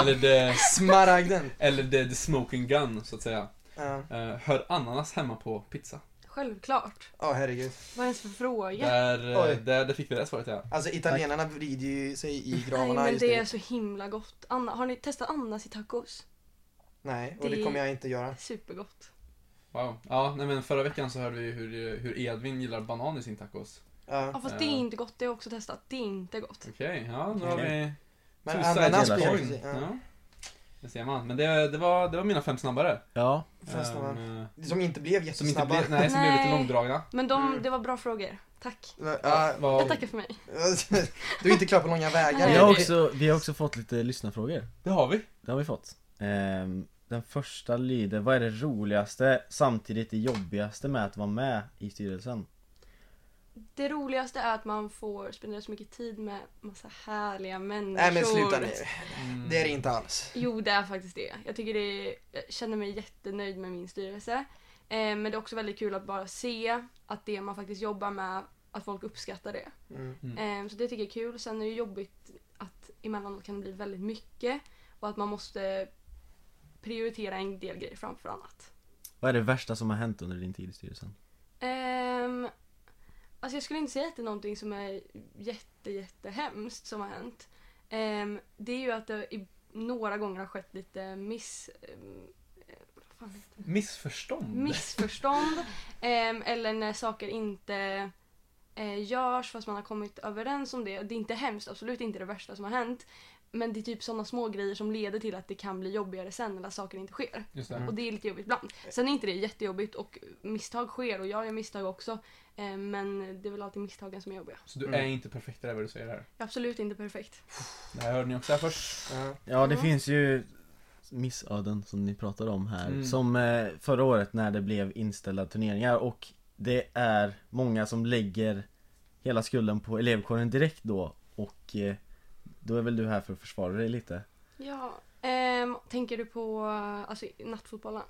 [SPEAKER 3] eller, the,
[SPEAKER 2] Smaragden.
[SPEAKER 3] eller the, the smoking gun, så att säga.
[SPEAKER 2] Ja,
[SPEAKER 3] Eh, hör ananas hemma på pizza?
[SPEAKER 4] Självklart.
[SPEAKER 2] Ja, herregud.
[SPEAKER 4] Vad är det ens för fråga?
[SPEAKER 3] Där,
[SPEAKER 2] Oj.
[SPEAKER 3] eh, där, där fick vi det svaret ja.
[SPEAKER 2] Alltså italienarna vrider ju sig i
[SPEAKER 4] Nej
[SPEAKER 2] gravarna
[SPEAKER 4] men
[SPEAKER 2] just
[SPEAKER 4] det
[SPEAKER 2] nu.
[SPEAKER 4] är så himla gott. Anna, har ni testat Annas i tacos?
[SPEAKER 2] Nej, och det
[SPEAKER 4] det-
[SPEAKER 2] kommer jag inte göra.
[SPEAKER 4] Supergott.
[SPEAKER 3] Wow. Ja, nej, men förra veckan så hörde vi hur, hur Edvin gillar banan i sin tacos.
[SPEAKER 4] Ja
[SPEAKER 2] Ja.
[SPEAKER 4] fast
[SPEAKER 3] Ja. Mm.
[SPEAKER 4] det är inte gott, det har jag också testat. Det är inte gott.
[SPEAKER 3] Okej, ja nu har vi
[SPEAKER 2] Men
[SPEAKER 3] two sides
[SPEAKER 2] ananas
[SPEAKER 3] of the
[SPEAKER 1] blir
[SPEAKER 2] blir
[SPEAKER 3] coin.
[SPEAKER 2] ju... Ja.
[SPEAKER 3] Ja. Det ser man. Men det, det, var, det var mina fem snabbare.
[SPEAKER 1] Ja,
[SPEAKER 2] Fem snabba.
[SPEAKER 3] Ehm, eh,
[SPEAKER 2] Som inte blev
[SPEAKER 3] som inte
[SPEAKER 2] jättesnabba.
[SPEAKER 3] blev, nej, som blev lite
[SPEAKER 4] Nej.
[SPEAKER 3] långdragna.
[SPEAKER 4] Men de,
[SPEAKER 2] Mm.
[SPEAKER 4] det var bra frågor. Tack.
[SPEAKER 2] Ja,
[SPEAKER 3] Vad-
[SPEAKER 4] Jag tackar för mig.
[SPEAKER 2] du är inte klar på långa vägar.
[SPEAKER 1] vi
[SPEAKER 4] Nej.
[SPEAKER 1] har,
[SPEAKER 4] det-
[SPEAKER 1] också, vi har också fått lite lyssnarfrågor
[SPEAKER 3] Det har vi.
[SPEAKER 1] Det har vi fått Ehm, Den första lyder, vad är det roligaste samtidigt det jobbigaste med att vara med i styrelsen?
[SPEAKER 4] Det roligaste är att man får spendera så mycket tid med massa härliga människor.
[SPEAKER 2] Nej men sluta nu.
[SPEAKER 3] Mm.
[SPEAKER 2] Det är det inte alls.
[SPEAKER 4] Jo, det är faktiskt det. Jag, tycker det är, jag känner mig jättenöjd med min styrelse. Eh, men det är också väldigt kul att bara se att det man faktiskt jobbar med, att folk uppskattar det.
[SPEAKER 2] Mm.
[SPEAKER 4] Eh, så det tycker jag är kul. Sen är det jobbigt att emellanåt kan det bli väldigt mycket och att man måste prioritera en del grejer framför annat.
[SPEAKER 1] Vad är det värsta som har hänt under din tid i styrelsen?
[SPEAKER 4] Ehm, alltså jag skulle inte säga att det är någonting som är jätte, jätte hemskt som har hänt. Ehm, det är ju att det i, några gånger har skett lite miss... ehm, eh, vad fan heter det?
[SPEAKER 3] Missförstånd.
[SPEAKER 4] missförstånd ehm, eller när saker inte eh, görs fast man har kommit överens om det. Det är inte hemskt, absolut inte det värsta som har hänt. Men det är typ sådana små grejer som leder till att det kan bli jobbigare sen eller att saker inte sker.
[SPEAKER 3] Just det.
[SPEAKER 2] Mm.
[SPEAKER 4] Och det är lite jobbigt ibland. Sen är inte det jättejobbigt och misstag sker och jag gör misstag också. Eh, Men det är väl alltid misstagen som är jobbiga.
[SPEAKER 3] Så du
[SPEAKER 2] Mm.
[SPEAKER 3] är inte perfekt i det här, vad du säger här.
[SPEAKER 4] Jag är absolut inte perfekt.
[SPEAKER 3] Det här hörde ni också här först.
[SPEAKER 2] Ja.
[SPEAKER 1] Ja, det
[SPEAKER 4] Ja.
[SPEAKER 1] finns ju missöden som ni pratade om här
[SPEAKER 3] Mm.
[SPEAKER 1] Som eh, förra året när det blev inställda turneringar och det är många som lägger hela skulden på elevkåren direkt då och eh, då är väl du här för att försvara dig lite?
[SPEAKER 4] Ja. ehm, tänker du på eh, alltså, nattfotbollen?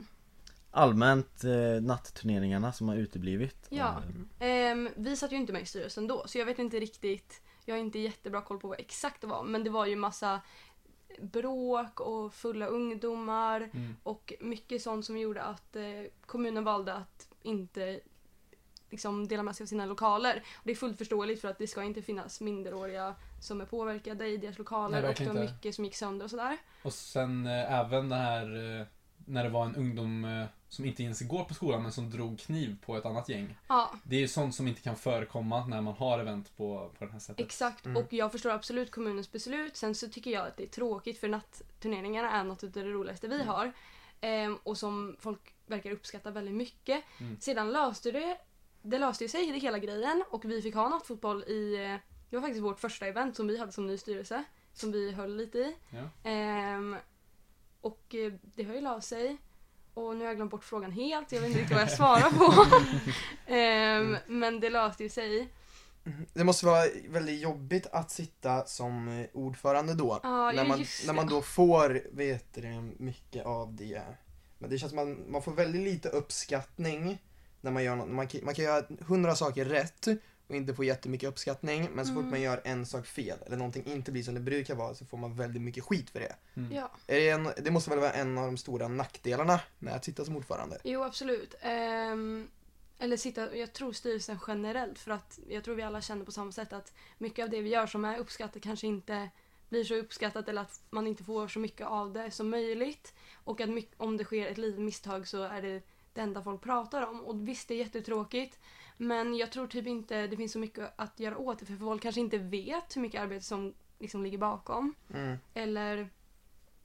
[SPEAKER 1] Allmänt eh, nattturneringarna som har uteblivit
[SPEAKER 4] Ja.
[SPEAKER 1] Eh,
[SPEAKER 4] Ehm, vi satt ju inte med i styrelsen då så jag vet inte riktigt. Jag har inte jättebra koll på vad exakt det var men det var ju massa bråk och fulla ungdomar
[SPEAKER 3] Mm.
[SPEAKER 4] och mycket sånt som gjorde att eh, kommunen valde att inte liksom, dela med sig av sina lokaler. Och det är fullt förståeligt för att det ska inte finnas minderåriga som är påverkade i deras lokaler
[SPEAKER 3] Nej,
[SPEAKER 4] och det
[SPEAKER 3] verkligen
[SPEAKER 4] var
[SPEAKER 3] inte.
[SPEAKER 4] mycket som gick sönder och sådär.
[SPEAKER 3] Och sen eh, även det här eh, när det var en ungdom eh, som inte ens går på skolan men som drog kniv på ett annat gäng.
[SPEAKER 4] Ja,
[SPEAKER 3] Det är ju sånt som inte kan förekomma när man har event på, på det här sättet.
[SPEAKER 4] Exakt,
[SPEAKER 2] Mm.
[SPEAKER 4] och jag förstår absolut kommunens beslut. Sen så tycker jag att det är tråkigt för nattturneringarna är något av det roligaste vi har. Ehm, och som folk verkar uppskatta väldigt mycket.
[SPEAKER 3] Mm.
[SPEAKER 4] Sedan löste det, det löste ju sig det hela grejen och vi fick ha nattfotboll i, eh, det var faktiskt vårt första event som vi hade som ny styrelse. Som vi höll lite i.
[SPEAKER 3] Ja.
[SPEAKER 4] Ehm, och eh, det har ju löst sig. Och nu har jag glömt bort frågan helt, jag vet inte riktigt vad jag svarar på. Ehm, men det löste ju sig.
[SPEAKER 2] Det måste vara väldigt jobbigt att sitta som eh, ordförande då.
[SPEAKER 4] Ja,
[SPEAKER 2] när,
[SPEAKER 4] ju
[SPEAKER 2] man,
[SPEAKER 4] just
[SPEAKER 2] när
[SPEAKER 4] det.
[SPEAKER 2] man då får, vet du, mycket av det. Men det känns som man, man får väldigt lite uppskattning när man gör något. Man, kan- man kan göra hundra saker rätt och inte få jättemycket uppskattning. Men så fort
[SPEAKER 4] Mm.
[SPEAKER 2] man gör en sak fel eller någonting inte blir som det brukar vara så får man väldigt mycket skit för det.
[SPEAKER 3] Mm.
[SPEAKER 4] Ja.
[SPEAKER 2] Är det, en, det måste väl vara en av de stora nackdelarna med att sitta som ordförande.
[SPEAKER 4] Jo, absolut. Ehm, eller sitta, jag tror styrelsen generellt för att jag tror vi alla känner på samma sätt att mycket av det vi gör som är uppskattat kanske inte blir så uppskattat eller att man inte får så mycket av det som möjligt. Och att mycket, om det sker ett litet misstag så är det det enda folk pratar om. Och visst, det är jättetråkigt. Men jag tror typ inte det finns så mycket att göra åt det för folk kanske inte vet hur mycket arbete som liksom ligger bakom
[SPEAKER 2] Mm.
[SPEAKER 4] eller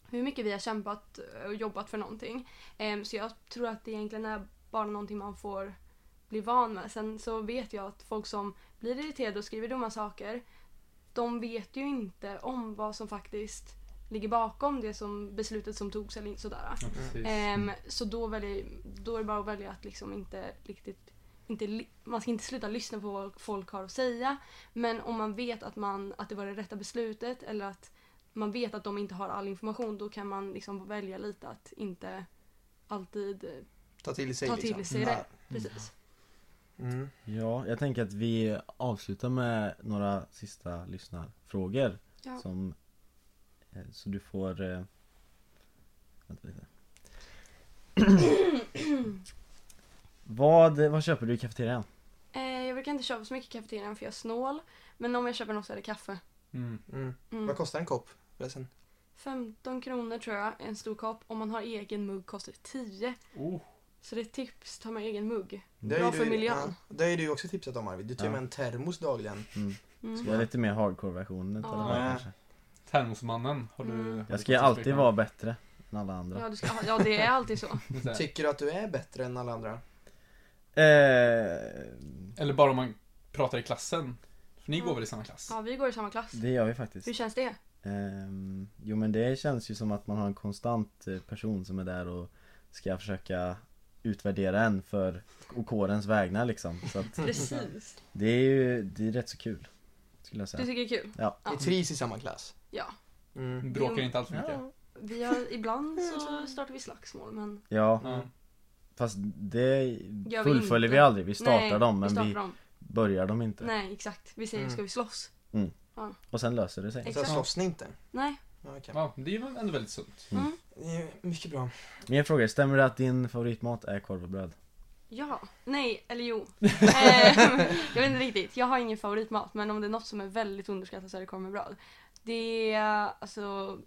[SPEAKER 4] hur mycket vi har kämpat och jobbat för någonting. Ehm, Så jag tror att det egentligen är bara någonting man får bli van med. Sen så vet jag att folk som blir irriterade och skriver dumma saker, de vet ju inte om vad som faktiskt ligger bakom det som beslutet som togs eller inte sådär.
[SPEAKER 3] Ja, precis.
[SPEAKER 4] Ehm, så då, väljer, då är det bara att välja att liksom inte riktigt inte, li- man ska inte sluta lyssna på vad folk har att säga. Men om man vet att, man, att det var det rätta beslutet eller att man vet att de inte har all information då kan man liksom välja lite att inte alltid... eh,
[SPEAKER 2] Ta till sig
[SPEAKER 4] Ta
[SPEAKER 2] liksom.
[SPEAKER 4] till sig
[SPEAKER 2] Ja.
[SPEAKER 4] det. Precis.
[SPEAKER 2] Mm.
[SPEAKER 1] Ja, jag tänker att vi avslutar med några sista lyssnarfrågor
[SPEAKER 4] Ja.
[SPEAKER 1] som eh, Så du får eh, Vänta lite vad, vad köper du i kafeterian?
[SPEAKER 4] Eh, jag brukar inte köpa så mycket i kafeterian för jag är snål. Men om jag köper något så är det kaffe.
[SPEAKER 3] Mm.
[SPEAKER 2] Mm.
[SPEAKER 4] Mm.
[SPEAKER 2] Vad kostar en kopp förresten?
[SPEAKER 4] 15 kronor tror jag, en stor kopp. Om man har egen mugg kostar det 10.
[SPEAKER 3] Oh.
[SPEAKER 4] Så det är ett tips, ta med egen mugg.
[SPEAKER 2] Det har
[SPEAKER 4] Bra
[SPEAKER 2] ju
[SPEAKER 4] för
[SPEAKER 2] du-
[SPEAKER 4] miljön.
[SPEAKER 2] Ja, det har ju du också tipsat om Arvid. Du tar
[SPEAKER 1] Ja.
[SPEAKER 2] ju med en termos dagligen.
[SPEAKER 1] Mm.
[SPEAKER 4] Mm.
[SPEAKER 1] Jag är lite mer hardcore-versionen utav den här
[SPEAKER 4] Ja.
[SPEAKER 1] kanske
[SPEAKER 3] Termosmannen har du...
[SPEAKER 4] Mm.
[SPEAKER 1] Jag ska ju alltid vara bättre än alla andra
[SPEAKER 4] Ja, du ska, ja, det är alltid så.
[SPEAKER 2] Tycker du att du är bättre än alla andra?
[SPEAKER 1] eh,
[SPEAKER 3] Eller bara om man pratar i klassen. För ni går väl i samma klass?
[SPEAKER 4] Ja, vi går i samma klass.
[SPEAKER 1] Det gör vi faktiskt
[SPEAKER 4] Hur känns det?
[SPEAKER 1] Ehm, jo men det känns ju som att man har en konstant eh, person som är där och ska försöka utvärdera en för och kårens vägnar liksom. Så att
[SPEAKER 4] Precis.
[SPEAKER 1] det är ju det är rätt så kul. Skulle jag
[SPEAKER 4] Du
[SPEAKER 1] säga.
[SPEAKER 4] tycker det är kul?
[SPEAKER 1] Ja.
[SPEAKER 2] Ni
[SPEAKER 4] Ja.
[SPEAKER 2] trivs i samma klass?
[SPEAKER 4] Ja.
[SPEAKER 2] Mm.
[SPEAKER 3] Ni Bråkar
[SPEAKER 4] Jo.
[SPEAKER 3] inte allt för mycket?
[SPEAKER 4] Vi har, ibland så startar vi slagsmål, men...
[SPEAKER 1] Ja,
[SPEAKER 3] Ja.
[SPEAKER 1] fast det
[SPEAKER 4] Gör vi
[SPEAKER 1] fullföljer vi,
[SPEAKER 4] inte.
[SPEAKER 1] aldrig. Vi startar
[SPEAKER 4] Nej,
[SPEAKER 1] dem men vi,
[SPEAKER 4] vi startar dem.
[SPEAKER 1] börjar dem inte.
[SPEAKER 4] Nej, exakt. Vi säger,
[SPEAKER 2] Mm.
[SPEAKER 4] ska vi slåss?
[SPEAKER 1] Och sen löser det sig.
[SPEAKER 4] Exakt.
[SPEAKER 2] Så slåss ni inte?
[SPEAKER 4] Nej.
[SPEAKER 2] Ja, okej.
[SPEAKER 3] ja, det är ju ändå väldigt sunt.
[SPEAKER 1] Mm.
[SPEAKER 4] Mm.
[SPEAKER 2] Det är Mycket bra.
[SPEAKER 1] Min fråga är, stämmer det att din favoritmat är korv och bröd?
[SPEAKER 4] Ja. Nej, eller jo. Ehm, jag vet inte riktigt. Jag har ingen favoritmat, men om det är något som är väldigt underskattat så är det korv med bröd. Det är alltså...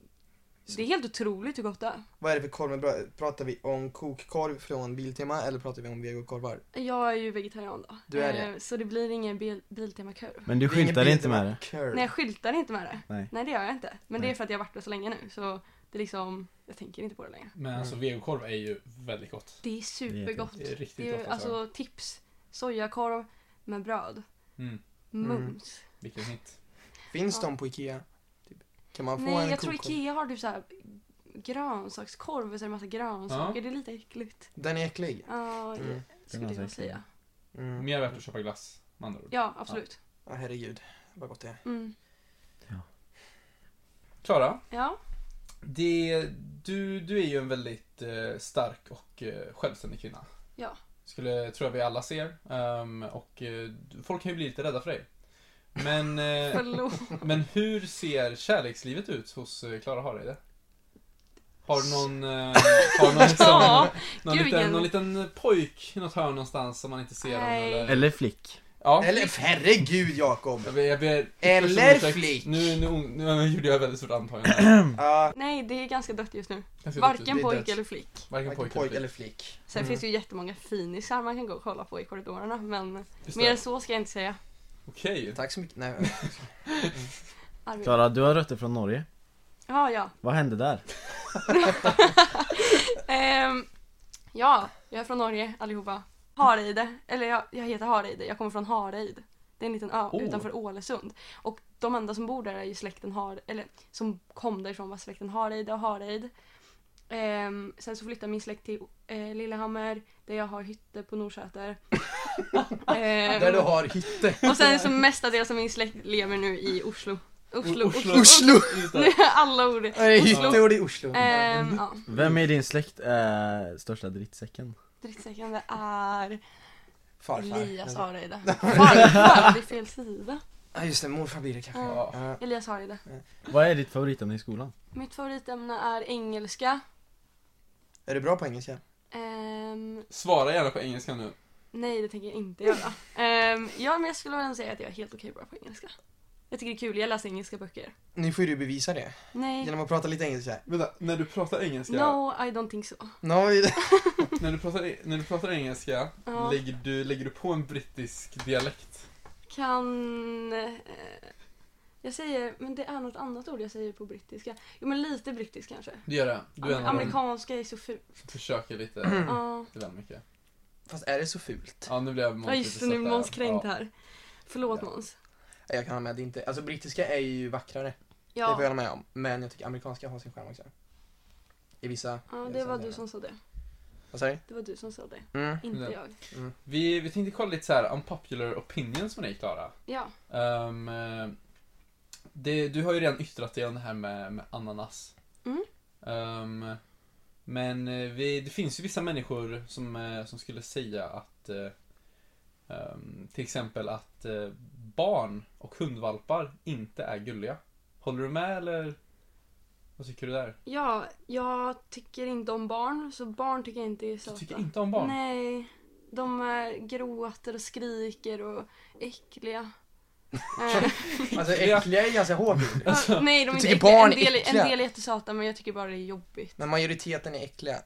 [SPEAKER 4] Det är helt otroligt hur gott det är.
[SPEAKER 2] Vad är det för korv med bröd? Pratar vi om kokkorv från Biltema eller pratar vi om vegokorvar?
[SPEAKER 4] Jag är ju vegetarian då.
[SPEAKER 2] Du är det.
[SPEAKER 4] Ehm, Så det blir ingen bil- Biltema-korv.
[SPEAKER 1] Men du
[SPEAKER 2] Det är ingen
[SPEAKER 1] skyltar inte med det?
[SPEAKER 2] Biltema-korv.
[SPEAKER 4] Nej jag skyltar inte med det.
[SPEAKER 1] Nej.
[SPEAKER 4] det gör jag inte. Men det
[SPEAKER 1] Nej.
[SPEAKER 4] är för att jag har varit där så länge nu så det är liksom, jag tänker inte på det längre.
[SPEAKER 3] Men
[SPEAKER 1] Mm.
[SPEAKER 3] alltså vegokorv är ju väldigt gott.
[SPEAKER 4] Det är supergott.
[SPEAKER 3] Det är riktigt
[SPEAKER 4] Det är ju,
[SPEAKER 3] gott alltså.
[SPEAKER 4] alltså tips. Sojakorv med bröd.
[SPEAKER 3] Mm.
[SPEAKER 4] Mums.
[SPEAKER 3] Vilken hit.
[SPEAKER 2] Finns
[SPEAKER 4] Ja.
[SPEAKER 2] de på Ikea? Typ. Kan man få
[SPEAKER 4] Nej
[SPEAKER 2] en
[SPEAKER 4] jag tror
[SPEAKER 2] kokkorv?
[SPEAKER 4] Ikea har typ såhär grönsakskorv och så är det massa grönsaker. Det är lite äckligt.
[SPEAKER 2] Den är äcklig.
[SPEAKER 4] Ja,
[SPEAKER 2] Mm.
[SPEAKER 1] är
[SPEAKER 4] skulle jag
[SPEAKER 1] äckligt.
[SPEAKER 4] säga.
[SPEAKER 2] Mm.
[SPEAKER 3] Mer värt att köpa glass med andra ord.
[SPEAKER 4] Ja, absolut.
[SPEAKER 2] Ja, herregud. Vad gott det är.
[SPEAKER 4] Mm.
[SPEAKER 3] Klara,
[SPEAKER 4] Ja,
[SPEAKER 3] det, du, du är ju en väldigt eh, stark och eh, självständig kvinna.
[SPEAKER 4] Ja.
[SPEAKER 3] Skulle, tror jag vi alla ser. Ehm, och eh, folk kan ju bli lite rädda för dig. Men, eh,
[SPEAKER 4] Förlåt.
[SPEAKER 3] men hur ser kärlekslivet ut hos eh, Klara Hareide? Har du någon, eh, har du någon, liksom,
[SPEAKER 4] Ja,
[SPEAKER 3] någon,
[SPEAKER 4] gud,
[SPEAKER 3] liten,
[SPEAKER 4] vilken-
[SPEAKER 3] någon liten eh, pojk i något hörn någonstans som man inte ser honom
[SPEAKER 4] Nej.
[SPEAKER 3] eller?
[SPEAKER 1] Eller flick
[SPEAKER 3] Ja.
[SPEAKER 2] Eller herregud Jakob!
[SPEAKER 3] Jag ber, jag ber,
[SPEAKER 2] Eller
[SPEAKER 3] ursäkt.
[SPEAKER 2] flick.
[SPEAKER 3] Nu, nu, nu, gjorde jag ett väldigt stort antagande. här.
[SPEAKER 2] Ja,
[SPEAKER 4] Nej, det är ganska dött just nu.
[SPEAKER 3] Ganska duktigt.
[SPEAKER 4] Varken
[SPEAKER 2] det är
[SPEAKER 4] pojk
[SPEAKER 2] dött.
[SPEAKER 4] eller flick.
[SPEAKER 3] Varken
[SPEAKER 2] varken
[SPEAKER 3] pojk,
[SPEAKER 2] pojk
[SPEAKER 3] eller
[SPEAKER 2] eller
[SPEAKER 3] flick.
[SPEAKER 2] flick.
[SPEAKER 4] Sen
[SPEAKER 3] Mm.
[SPEAKER 4] finns det ju jättemånga finisar man kan gå och kolla på i korridorerna, men
[SPEAKER 3] Just
[SPEAKER 4] mer
[SPEAKER 3] det.
[SPEAKER 4] än så ska jag inte säga.
[SPEAKER 3] Okej.
[SPEAKER 2] Tack så mycket. Nej,
[SPEAKER 4] Arvid.
[SPEAKER 1] Klara, du har rötter från Norge
[SPEAKER 4] Ja, ja.
[SPEAKER 1] Vad hände där?
[SPEAKER 4] Ehm, ja, jag är från Norge allihopa. Hareide, eller jag, jag heter Hareide, jag kommer från Hareid. Det är en liten ö
[SPEAKER 3] Oh.
[SPEAKER 4] utanför Ålesund. Och de enda som bor där är ju släkten Har... eller som kom därifrån var släkten Hareide och Hareid. Ehm, sen så flyttade min släkt till eh, Lillehammer där jag har hytte på Norrköter. Ehm,
[SPEAKER 2] där du har hytte.
[SPEAKER 4] och sen så mestadels av min släkt lever nu i Oslo. Oslo,
[SPEAKER 3] O-
[SPEAKER 4] Oslo,
[SPEAKER 3] Oslo.
[SPEAKER 2] Oslo!
[SPEAKER 3] Just
[SPEAKER 4] Nu
[SPEAKER 3] det.
[SPEAKER 4] är alla ord.
[SPEAKER 2] Ja, Det är
[SPEAKER 4] Oslo.
[SPEAKER 2] hytte och det är Oslo.
[SPEAKER 4] Ehm, ja.
[SPEAKER 1] Vem i din släkt är största drittsäcken?
[SPEAKER 4] Drittsäcken det är Elias
[SPEAKER 2] Farfar.
[SPEAKER 4] Hareide. Farfar, det är fel sida.
[SPEAKER 2] Ja just det, morfar blir det kanske.
[SPEAKER 3] Ja.
[SPEAKER 2] Ja.
[SPEAKER 4] Elias Hareide.
[SPEAKER 1] Vad är ditt favoritämne i skolan?
[SPEAKER 4] Mitt favoritämne är engelska.
[SPEAKER 2] Är du bra på engelska?
[SPEAKER 4] Ehm,
[SPEAKER 3] Svara gärna på engelska nu.
[SPEAKER 4] nej, det tänker jag inte göra. Ehm, ja, men jag skulle väl ändå säga att jag är helt okej bra på engelska. Jag tycker det är kul, jag läser engelska böcker.
[SPEAKER 2] Nu får ju du bevisa det.
[SPEAKER 4] Nej.
[SPEAKER 2] Genom att prata lite engelska.
[SPEAKER 3] Vänta, när du pratar engelska,
[SPEAKER 4] No, I don't think so.
[SPEAKER 2] Nu har vi
[SPEAKER 3] när du pratar, när du pratar engelska
[SPEAKER 4] Ja.
[SPEAKER 3] lägger, du, lägger du på en brittisk dialekt?
[SPEAKER 4] Kan... Eh, jag säger, men det är något annat ord jag säger på brittiska. Jo, men lite brittisk kanske.
[SPEAKER 3] Du gör det? Du är en av dem som
[SPEAKER 4] Amerikanska är så fult.
[SPEAKER 3] försöker lite
[SPEAKER 4] Ja.
[SPEAKER 3] lite väl mycket.
[SPEAKER 2] Fast är det så
[SPEAKER 4] Typ.
[SPEAKER 2] fult?
[SPEAKER 3] Ja, nu blev jag
[SPEAKER 4] Ja, just det, nu är
[SPEAKER 3] lite
[SPEAKER 4] Måns
[SPEAKER 3] satt
[SPEAKER 4] kränkt
[SPEAKER 3] där.
[SPEAKER 4] här. Förlåt
[SPEAKER 3] Ja.
[SPEAKER 4] Måns.
[SPEAKER 2] Nej, Jag kan hålla med, det är inte, alltså brittiska är ju vackrare. Det får jag
[SPEAKER 4] Ja,
[SPEAKER 2] hålla med om. Men jag tycker amerikanska har sin charm också. I vissa.
[SPEAKER 4] ja det var du som sa det.
[SPEAKER 2] Vad sa du?
[SPEAKER 4] Det var du som sa det,
[SPEAKER 2] Mm.
[SPEAKER 4] inte
[SPEAKER 3] Nej.
[SPEAKER 4] jag.
[SPEAKER 3] Vi, vi tänkte kolla lite så här unpopular opinions med dig Klara.
[SPEAKER 4] Ja,
[SPEAKER 3] Ehm, eh, det, du har ju redan yttrat dig om det här med, med ananas.
[SPEAKER 4] Mm.
[SPEAKER 3] Ehm, men eh, vi, det finns ju vissa människor som, eh, som skulle säga att eh, ehm, till exempel att eh, barn och hundvalpar inte är gulliga. Håller du med eller vad tycker du där?
[SPEAKER 4] ja, jag tycker inte om barn, så barn tycker jag inte är
[SPEAKER 3] Du
[SPEAKER 4] söta.
[SPEAKER 3] tycker inte om barn?
[SPEAKER 4] Nej, de eh, gråter och skriker och äckliga. Eh,
[SPEAKER 2] Alltså äckliga är ganska hårt ord.
[SPEAKER 3] Alltså,
[SPEAKER 4] nej, de är
[SPEAKER 2] du
[SPEAKER 4] inte
[SPEAKER 2] tycker
[SPEAKER 4] äckliga. En
[SPEAKER 2] barn är
[SPEAKER 4] del, en
[SPEAKER 2] äckliga?
[SPEAKER 4] del är jättesöta, men jag tycker bara det är jobbigt.
[SPEAKER 2] Men majoriteten är äckliga.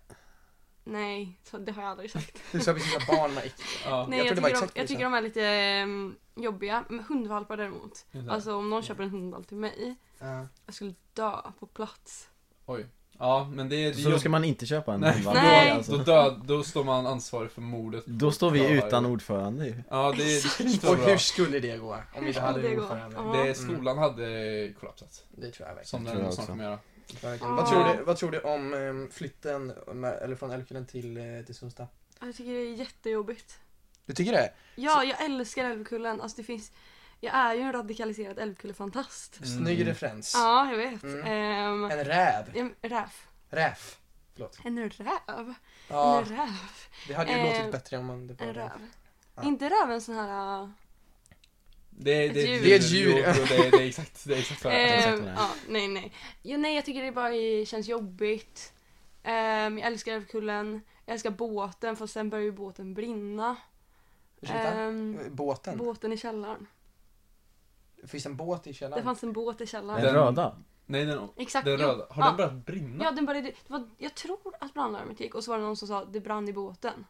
[SPEAKER 4] Nej, så det har jag aldrig sagt.
[SPEAKER 2] Du sa precis att barn var äckliga.
[SPEAKER 3] ja,
[SPEAKER 4] Nej,
[SPEAKER 2] jag tror
[SPEAKER 4] jag,
[SPEAKER 2] det var
[SPEAKER 4] tycker, de,
[SPEAKER 2] exakt det du
[SPEAKER 4] jag tycker de är lite ehm, jobbiga. Men hundvalpar däremot.
[SPEAKER 3] inte.
[SPEAKER 4] Alltså om någon köper en hundvalp till mig, jag skulle dö på plats.
[SPEAKER 3] Oj. Ja, men det, det
[SPEAKER 1] Så då ska man inte köpa en
[SPEAKER 3] Nej.
[SPEAKER 1] hundvalp?
[SPEAKER 4] Nej.
[SPEAKER 3] Då,
[SPEAKER 1] Alltså,
[SPEAKER 3] då, död, då står man ansvarig för mordet.
[SPEAKER 1] Då står vi utan ordförande ju
[SPEAKER 3] Ja, det, det skulle inte
[SPEAKER 2] Och
[SPEAKER 3] vara bra.
[SPEAKER 2] hur skulle det gå? Om vi
[SPEAKER 4] Hur
[SPEAKER 2] inte
[SPEAKER 4] skulle
[SPEAKER 2] hade
[SPEAKER 4] det
[SPEAKER 2] en
[SPEAKER 4] gå?
[SPEAKER 2] ordförande?
[SPEAKER 4] Ja.
[SPEAKER 3] Det, skolan hade kollapsat.
[SPEAKER 2] Det tror jag verkligen.
[SPEAKER 3] Som
[SPEAKER 1] tror jag
[SPEAKER 3] den snart
[SPEAKER 1] också.
[SPEAKER 3] kommer göra.
[SPEAKER 2] Det tror jag verkligen.
[SPEAKER 4] Ja.
[SPEAKER 2] Vad, tror du, vad tror du om ehm, flytten med, eller från Älvkullen till, eh, till Sundsta?
[SPEAKER 4] Jag tycker det är jättejobbigt.
[SPEAKER 2] Du tycker det?
[SPEAKER 4] Ja, jag älskar Älvkullen. Alltså det finns... Jag är ju en radikaliserad Älvkullefantast.
[SPEAKER 2] Snygg
[SPEAKER 3] Mm.
[SPEAKER 2] referens.
[SPEAKER 4] Ja, jag vet.
[SPEAKER 2] Mm.
[SPEAKER 4] Ehm,
[SPEAKER 2] En räv.
[SPEAKER 4] en räv.
[SPEAKER 2] Räf. Förlåt.
[SPEAKER 4] En räv?
[SPEAKER 2] Ja,
[SPEAKER 4] En räv?
[SPEAKER 2] det hade ju
[SPEAKER 4] Eh,
[SPEAKER 2] låtit bättre om man... Det var
[SPEAKER 4] En
[SPEAKER 2] räv.
[SPEAKER 4] räv.
[SPEAKER 2] Ja.
[SPEAKER 4] Inte räv en sån här... äh,
[SPEAKER 3] Det, det, är
[SPEAKER 4] Ett djur.
[SPEAKER 2] Det är ett djur.
[SPEAKER 3] Jo, jo, det, är- det är exakt, det är exakt vad det är.
[SPEAKER 1] exakt
[SPEAKER 4] ehm,
[SPEAKER 1] vad det är.
[SPEAKER 4] ja, nej, nej. Jo, nej, jag tycker det bara är- känns jobbigt. Ehm, jag älskar Älvkullen. Jag älskar båten, för sen börjar ju båten brinna.
[SPEAKER 2] Ursäkta?
[SPEAKER 4] Ehm,
[SPEAKER 2] Båten?
[SPEAKER 4] båten i källaren.
[SPEAKER 2] Finns det en båt i
[SPEAKER 4] Det
[SPEAKER 2] källaren?
[SPEAKER 4] fanns en båt i
[SPEAKER 1] Den
[SPEAKER 4] källaren.
[SPEAKER 3] Den-
[SPEAKER 1] röda?
[SPEAKER 3] Nej, den,
[SPEAKER 4] Exakt.
[SPEAKER 3] den
[SPEAKER 4] jo.
[SPEAKER 3] röda. Har
[SPEAKER 4] Ja.
[SPEAKER 3] den börjat brinna?
[SPEAKER 4] Ja, den började, det var, jag tror att brandlarmet gick och så var det någon som sa det brann i båten.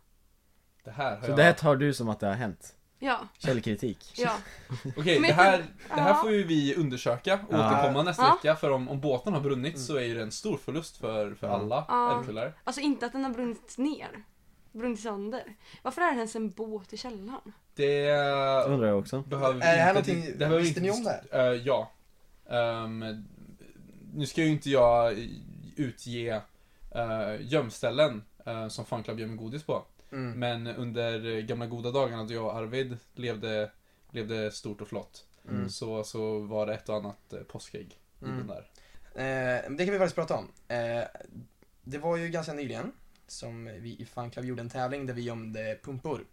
[SPEAKER 3] Det här har
[SPEAKER 1] Så
[SPEAKER 3] jag...
[SPEAKER 1] det här tar du som att det har hänt?
[SPEAKER 4] Ja,
[SPEAKER 1] Källkritik?
[SPEAKER 4] ja.
[SPEAKER 3] Okej, det
[SPEAKER 4] Men-
[SPEAKER 3] här, det här
[SPEAKER 4] Ja.
[SPEAKER 3] får ju vi undersöka och
[SPEAKER 1] Ja. Mm.
[SPEAKER 3] återkomma nästa
[SPEAKER 4] Ja.
[SPEAKER 3] vecka. För om, om båten har brunnit så är ju det en stor förlust för, för
[SPEAKER 1] Ja.
[SPEAKER 3] alla
[SPEAKER 4] Ja.
[SPEAKER 3] älvkullar.
[SPEAKER 4] Alltså inte att den har brunnit ner. Brunnit sönder. Varför är det ens en båt i källaren?
[SPEAKER 3] Det
[SPEAKER 1] Det undrar jag också
[SPEAKER 3] behöver vi
[SPEAKER 2] Är det här
[SPEAKER 3] inte...
[SPEAKER 2] någonting-
[SPEAKER 3] behöver vi
[SPEAKER 2] visste
[SPEAKER 3] inte
[SPEAKER 2] ni om det här?
[SPEAKER 3] Eh, ja. Ehm, nu ska ju inte jag utge uh, gömställen eh, som fanclub gömmer godis på.
[SPEAKER 2] Mm.
[SPEAKER 3] Men under eh, gamla goda dagarna då jag och Arvid levde, levde stort och flott
[SPEAKER 2] Mm.
[SPEAKER 3] så, så var det ett och annat eh, påskägg i
[SPEAKER 2] Mm.
[SPEAKER 3] den där.
[SPEAKER 2] Eh, det kan vi faktiskt prata om. Eh, det var ju ganska nyligen som vi i Fun Club gjorde en tävling där vi gömde pumpor.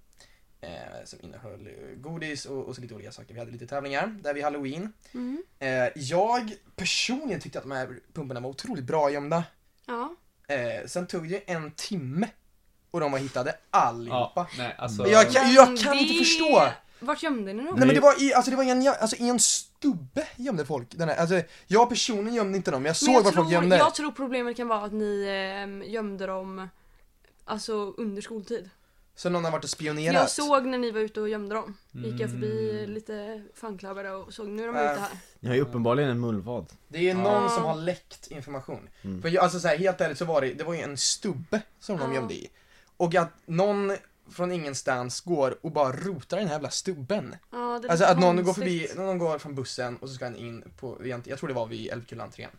[SPEAKER 2] eh, som innehöll eh, godis och, och så lite olika saker. Vi hade lite tävlingar där vid halloween.
[SPEAKER 4] Mm.
[SPEAKER 2] Eh, jag personligen tyckte att de här pumporna var otroligt bra gömda.
[SPEAKER 4] Ja.
[SPEAKER 2] Eh, sen tog det en timme och de var hittade allihopa.
[SPEAKER 3] Ja, nej, alltså,
[SPEAKER 2] Men Jag kan,
[SPEAKER 4] Men
[SPEAKER 2] jag kan
[SPEAKER 4] det-
[SPEAKER 2] inte förstå!
[SPEAKER 4] Vart gömde ni dem?
[SPEAKER 2] Nej men det var i, alltså det var i en, jä- alltså i en stubbe gömde folk den här, alltså jag personligen gömde inte dem, jag
[SPEAKER 4] Men
[SPEAKER 2] såg
[SPEAKER 4] jag
[SPEAKER 2] vad folk
[SPEAKER 4] tror-
[SPEAKER 2] gömde.
[SPEAKER 4] Jag tror problemet kan vara att ni ehm, gömde dem Alltså under skoltid.
[SPEAKER 2] Så någon har varit och spionerat.
[SPEAKER 4] Jag såg när ni var ute och gömde dem. Gick jag förbi
[SPEAKER 3] Mm.
[SPEAKER 4] lite fanklabbare och såg nu är de
[SPEAKER 2] Äh.
[SPEAKER 4] ute här.
[SPEAKER 1] Ni har ju uppenbarligen en mullvad.
[SPEAKER 2] Det är
[SPEAKER 3] Ja.
[SPEAKER 2] någon som har läckt information.
[SPEAKER 1] Mm.
[SPEAKER 2] För jag, alltså så här, helt ärligt så var det, det var ju en stubbe som de
[SPEAKER 4] Ja.
[SPEAKER 2] gömde i. Och att någon från ingenstans går och bara rotar i den här jävla stubben.
[SPEAKER 4] Ja, det är lite
[SPEAKER 2] Alltså att någon går förbi,
[SPEAKER 4] konstigt.
[SPEAKER 2] någon går från bussen och så ska han in på, egent- jag tror det var vid Älvkullaentrén.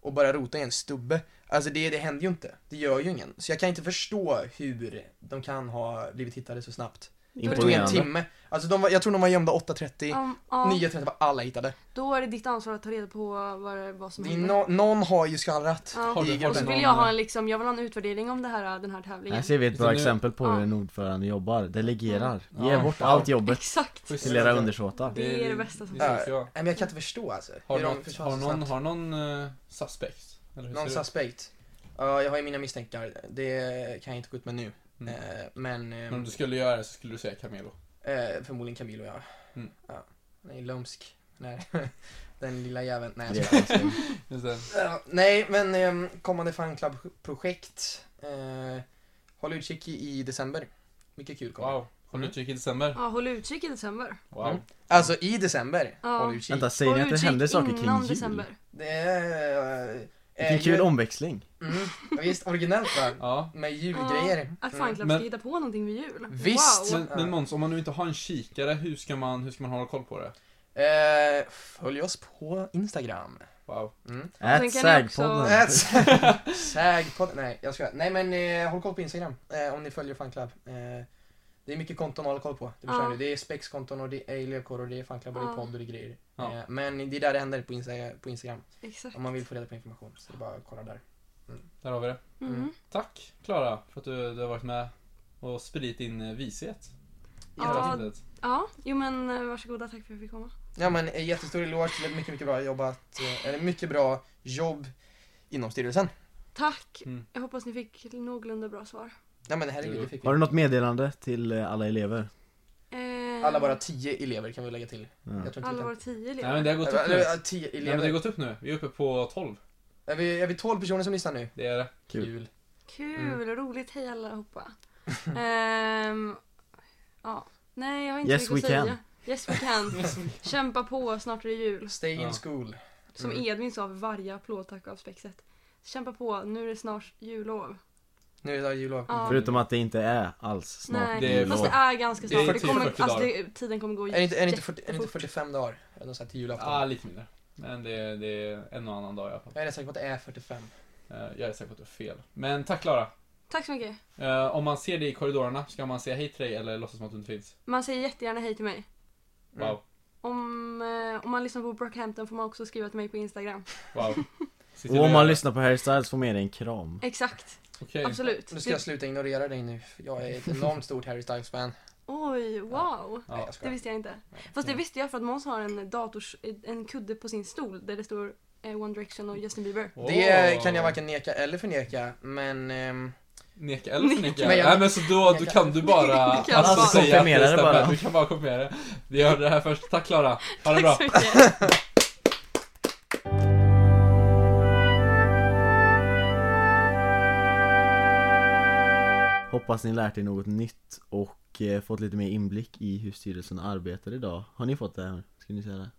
[SPEAKER 2] Och börjar rota i en stubbe. Alltså det, det händer ju inte. Det gör ju ingen. Så jag kan inte förstå hur de kan ha blivit hittade så snabbt. Det tog en
[SPEAKER 1] Imponerande.
[SPEAKER 2] timme. Alltså de var, jag tror de var gömda 8.30,
[SPEAKER 4] Ja, ja.
[SPEAKER 2] 9.30 var alla hittade.
[SPEAKER 4] Då är det ditt ansvar att ta reda på vad, det- vad som
[SPEAKER 2] Det är
[SPEAKER 4] hände.
[SPEAKER 2] nå- någon har ju skallrat.
[SPEAKER 4] Ja.
[SPEAKER 3] Har du-
[SPEAKER 2] i
[SPEAKER 3] har
[SPEAKER 4] Och
[SPEAKER 2] gruppen.
[SPEAKER 4] så vill jag ha en liksom, jag vill ha en utvärdering om det här, den här tävlingen.
[SPEAKER 1] Här ser vi ett bra
[SPEAKER 3] Så nu-
[SPEAKER 1] exempel på hur
[SPEAKER 4] Ja.
[SPEAKER 1] en ordförande jobbar. Delegerar.
[SPEAKER 3] Ja.
[SPEAKER 1] Ge bort allt jobbet
[SPEAKER 4] Exakt!
[SPEAKER 3] Schysst.
[SPEAKER 1] till era undersåtar.
[SPEAKER 4] Det är det bästa som
[SPEAKER 3] det är så jag-
[SPEAKER 2] Nej men jag kan inte förstå alltså.
[SPEAKER 3] Har,
[SPEAKER 2] hur de
[SPEAKER 3] något,
[SPEAKER 2] försvann
[SPEAKER 3] har
[SPEAKER 2] så
[SPEAKER 3] någon,
[SPEAKER 2] snabbt.
[SPEAKER 3] har någon eh, suspect? Eller hur
[SPEAKER 2] någon
[SPEAKER 3] ser det ut?
[SPEAKER 2] suspekt? Ja, jag har ju mina misstänkar. Det kan jag inte gå ut med nu.
[SPEAKER 3] Mm.
[SPEAKER 2] Eh, men
[SPEAKER 3] Men om
[SPEAKER 2] ehm,
[SPEAKER 3] du skulle göra det så skulle du säga Camelo.
[SPEAKER 2] eh, förmodligen Camilo ja.
[SPEAKER 3] Mm.
[SPEAKER 2] ja. Han är ju lömsk. Nej. Den lilla jäveln. Nej, jag
[SPEAKER 1] Det är
[SPEAKER 2] skojar.
[SPEAKER 1] alltså-
[SPEAKER 3] Just det.
[SPEAKER 2] Ja, Nej men ehm, kommande fanclub-projekt. Eh, håll utkik i, i december. Mycket kul kommer.
[SPEAKER 3] Wow. Har du
[SPEAKER 2] Mm.
[SPEAKER 3] utkik i december?
[SPEAKER 4] Ja, håll utkik i december.
[SPEAKER 3] Wow.
[SPEAKER 2] Mm. Alltså i december.
[SPEAKER 4] Ja.
[SPEAKER 2] Håll utkik.
[SPEAKER 1] Vänta, säger ni
[SPEAKER 4] Håll
[SPEAKER 1] att det
[SPEAKER 4] utkik
[SPEAKER 1] hände saker
[SPEAKER 4] innan
[SPEAKER 1] kring jul?
[SPEAKER 4] december.
[SPEAKER 2] Det är... eh,
[SPEAKER 1] Vilken
[SPEAKER 2] eh,
[SPEAKER 1] kul
[SPEAKER 3] Äh,
[SPEAKER 1] omväxling.
[SPEAKER 2] Mm, ja, visst, originellt va?
[SPEAKER 3] Ja.
[SPEAKER 2] Med julgrejer.
[SPEAKER 4] Att
[SPEAKER 2] Mm.
[SPEAKER 4] fanclub
[SPEAKER 3] Men-
[SPEAKER 4] ska hitta på någonting vid jul.
[SPEAKER 2] Visst!
[SPEAKER 4] Wow.
[SPEAKER 3] Men, men Måns, om man nu inte har en kikare, hur ska man, hur ska man hålla koll på det?
[SPEAKER 2] Eh, följ oss på Instagram.
[SPEAKER 3] Wow.
[SPEAKER 2] Mm.
[SPEAKER 1] Ät
[SPEAKER 4] sen kan ni också-
[SPEAKER 1] sägpodden.
[SPEAKER 2] Ät- Sägpodd. Nej, jag skojar. Nej men eh, håll koll på Instagram eh, om ni följer fanclub. Eh, det är mycket konton att hålla koll på. Det förstår
[SPEAKER 4] Ja.
[SPEAKER 2] ni. Det är spexkonton och det är elevkår och det är fanclub och det är
[SPEAKER 4] Ja.
[SPEAKER 2] podd och det är grejer.
[SPEAKER 3] Ja.
[SPEAKER 2] Eh, men det är där det händer på, Insta- på Instagram.
[SPEAKER 4] Exakt.
[SPEAKER 2] Om man vill få reda på information så det är bara att kolla där.
[SPEAKER 3] Där har vi det.
[SPEAKER 4] Mm.
[SPEAKER 3] Tack Klara för att du, du har varit med och spridit din eh, vishet. i det här
[SPEAKER 4] Ja.
[SPEAKER 3] avsnittet.
[SPEAKER 4] Ja, jo men eh, varsågoda, tack för att jag fick komma.
[SPEAKER 2] Ja men eh, jättestor eloge till ett mycket, mycket bra jobbat. Eh, eller mycket bra jobb inom styrelsen.
[SPEAKER 4] Tack!
[SPEAKER 3] Mm.
[SPEAKER 4] Jag hoppas ni fick någorlunda bra svar.
[SPEAKER 2] Ja men herregud, det fick vi.
[SPEAKER 1] Har du något meddelande till eh, alla elever?
[SPEAKER 4] Eh,
[SPEAKER 2] Alla bara tio elever kan vi lägga till.
[SPEAKER 1] Ja.
[SPEAKER 2] Jag tror inte vi
[SPEAKER 4] alla
[SPEAKER 2] kan-
[SPEAKER 4] våra tio
[SPEAKER 3] Nej
[SPEAKER 4] elever.
[SPEAKER 3] men det har gått upp nu.
[SPEAKER 2] Eller, ja, tio
[SPEAKER 3] Nej, men det har
[SPEAKER 2] elever.
[SPEAKER 3] gått upp nu. Vi är uppe på 12.
[SPEAKER 2] Är vi, är vi 12 personer som lyssnar nu?
[SPEAKER 3] Det är det.
[SPEAKER 1] Kul.
[SPEAKER 4] Kul,
[SPEAKER 1] Mm.
[SPEAKER 4] roligt, hej allihopa. Ehm, ja. Nej, jag har inte
[SPEAKER 1] Yes,
[SPEAKER 4] mycket att
[SPEAKER 1] we
[SPEAKER 4] säga.
[SPEAKER 1] can.
[SPEAKER 4] Yes we can. Kämpa på, snart är det jul.
[SPEAKER 2] Stay in
[SPEAKER 3] Ja.
[SPEAKER 2] school.
[SPEAKER 4] Som
[SPEAKER 2] Mm.
[SPEAKER 4] Edvin sa vid varje applåd, tack av spexet. Kämpa på, nu är det snart jullov.
[SPEAKER 2] Nu är det jullov.
[SPEAKER 4] Ja.
[SPEAKER 1] Förutom att det inte är alls snart
[SPEAKER 4] Nej,
[SPEAKER 3] det är
[SPEAKER 1] jullov.
[SPEAKER 4] fast det är ganska
[SPEAKER 3] Det är
[SPEAKER 4] snart. Det
[SPEAKER 3] typ
[SPEAKER 4] kommer,
[SPEAKER 3] 40
[SPEAKER 4] alltså,
[SPEAKER 3] dagar.
[SPEAKER 4] det, tiden kommer gå
[SPEAKER 2] Är det inte, är det inte, 40, är det inte
[SPEAKER 4] jättefort.
[SPEAKER 2] 45 dagar? Eller något sånt här till julafton?
[SPEAKER 3] Ah, lite mindre. Men det, det är en och annan dag i alla fall.
[SPEAKER 2] Jag är rätt säker på att det är 45.
[SPEAKER 3] Eh, Jag är säker på att du har fel. Men tack Klara.
[SPEAKER 4] Tack så mycket.
[SPEAKER 3] Eh, Om man ser dig i korridorerna, ska man säga hej till dig eller låtsas som att du inte finns?
[SPEAKER 4] Man säger jättegärna hej till mig.
[SPEAKER 2] Mm.
[SPEAKER 3] Wow.
[SPEAKER 4] Om, eh, om man lyssnar på Brockhampton får man också skriva till mig på Instagram.
[SPEAKER 3] Wow. Sitter du
[SPEAKER 1] Och om
[SPEAKER 3] och gör
[SPEAKER 1] man
[SPEAKER 3] det?
[SPEAKER 1] lyssnar på Harry Styles får med dig en kram.
[SPEAKER 4] Exakt,
[SPEAKER 3] Okej.
[SPEAKER 4] absolut. Typ-
[SPEAKER 2] Nu ska jag sluta ignorera dig nu. Jag är ett enormt stort Harry Styles-fan.
[SPEAKER 4] Oj, wow.
[SPEAKER 2] Nej, jag
[SPEAKER 4] Det
[SPEAKER 2] skojar.
[SPEAKER 4] visste jag inte. Fast det visste jag för att Måns har en dators, en kudde på sin stol där det står eh, One Direction och Justin Bieber.
[SPEAKER 2] Det
[SPEAKER 3] Åh.
[SPEAKER 2] kan jag varken neka eller förneka, men... ehm,
[SPEAKER 3] Neka eller förneka?
[SPEAKER 2] Men jag-
[SPEAKER 3] Nej men så då, då
[SPEAKER 2] Neka.
[SPEAKER 3] kan du bara alltså,
[SPEAKER 4] Du kan bara.
[SPEAKER 3] säga att
[SPEAKER 1] Konfirmera det
[SPEAKER 3] stämmer.
[SPEAKER 1] bara.
[SPEAKER 3] Du kan bara konfirmera det. Vi hörde det här först. Tack Klara. Ha det bra.
[SPEAKER 4] Tack så mycket.
[SPEAKER 1] Hoppas ni lärt er något nytt och eh, fått lite mer inblick i hur styrelsen arbetar idag. Har ni fått det här? Ska ni säga det?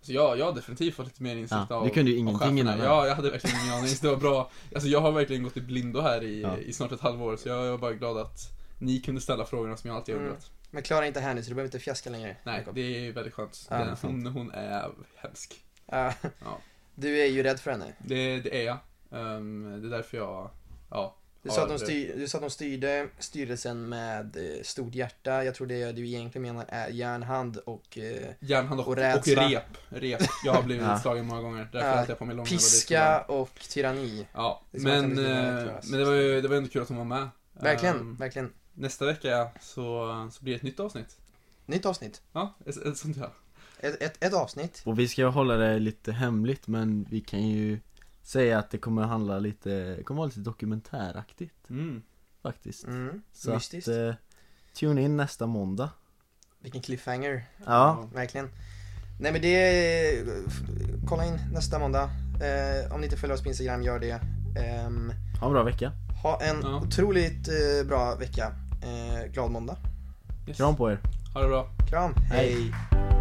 [SPEAKER 3] Så jag, jag har definitivt fått lite mer insikt
[SPEAKER 1] Ja,
[SPEAKER 3] av
[SPEAKER 1] du kunde ju
[SPEAKER 3] av
[SPEAKER 1] ingenting
[SPEAKER 3] cheferna.
[SPEAKER 1] innan.
[SPEAKER 3] Ja, jag hade verkligen ingen aning. Så det var bra. Alltså jag har verkligen gått i blindo här i,
[SPEAKER 1] Ja.
[SPEAKER 3] i snart ett halvår. Så jag är bara glad att ni kunde ställa frågorna som jag alltid har
[SPEAKER 2] Mm.
[SPEAKER 3] undrat.
[SPEAKER 2] Men Klara är inte här nu så du behöver inte fjäska längre.
[SPEAKER 3] Nej,
[SPEAKER 2] Jakob.
[SPEAKER 3] det är väldigt skönt.
[SPEAKER 2] Ja,
[SPEAKER 3] Den-
[SPEAKER 1] det är sant.
[SPEAKER 3] hon, hon är hemsk.
[SPEAKER 2] Ja.
[SPEAKER 3] Ja.
[SPEAKER 2] Du är ju rädd för henne.
[SPEAKER 3] Det, det är jag. Ehm, det är därför jag, ja.
[SPEAKER 2] Du sa, att de
[SPEAKER 3] har-
[SPEAKER 2] styr, du sa att de styrde styrelsen med eh, stort hjärta. Jag tror det du egentligen menar är järnhand och eh,
[SPEAKER 3] Järnhand och,
[SPEAKER 2] Och
[SPEAKER 3] och,
[SPEAKER 2] rädsla.
[SPEAKER 3] rep. Rep. Jag har blivit
[SPEAKER 1] Ja.
[SPEAKER 3] utslagen många gånger. Därför
[SPEAKER 2] Ja.
[SPEAKER 3] har jag på mig långa
[SPEAKER 2] piska och tyranni.
[SPEAKER 3] Ja,
[SPEAKER 2] Det är som att
[SPEAKER 3] men,
[SPEAKER 2] han blir
[SPEAKER 3] eh,
[SPEAKER 2] lite nervös.
[SPEAKER 3] men det var ju det var ändå kul att hon var med.
[SPEAKER 2] Verkligen,
[SPEAKER 3] Ehm,
[SPEAKER 2] verkligen.
[SPEAKER 3] nästa vecka så, så blir det ett nytt avsnitt.
[SPEAKER 2] Nytt avsnitt.
[SPEAKER 3] Ja, ett, ett sånt här.
[SPEAKER 2] Ett, ett, ett avsnitt.
[SPEAKER 1] Och vi ska hålla det lite hemligt men vi kan ju säga att det kommer handla lite, det kommer vara lite dokumentäraktigt
[SPEAKER 3] Mm.
[SPEAKER 1] faktiskt.
[SPEAKER 2] Mm.
[SPEAKER 1] Så
[SPEAKER 2] Mystiskt.
[SPEAKER 1] att, eh, tune in nästa måndag.
[SPEAKER 2] Vilken cliffhanger.
[SPEAKER 1] Ja,
[SPEAKER 2] Verkligen. Nej men det, kolla in nästa måndag. Eh, om ni inte följer oss på Instagram, gör det. Ehm,
[SPEAKER 1] ha en bra vecka.
[SPEAKER 2] ha en
[SPEAKER 3] Ja.
[SPEAKER 2] otroligt eh, bra vecka. Eh, glad måndag.
[SPEAKER 3] Yes.
[SPEAKER 1] Kram på er.
[SPEAKER 3] Ha det bra.
[SPEAKER 2] Kram,
[SPEAKER 1] Hej.
[SPEAKER 2] hej.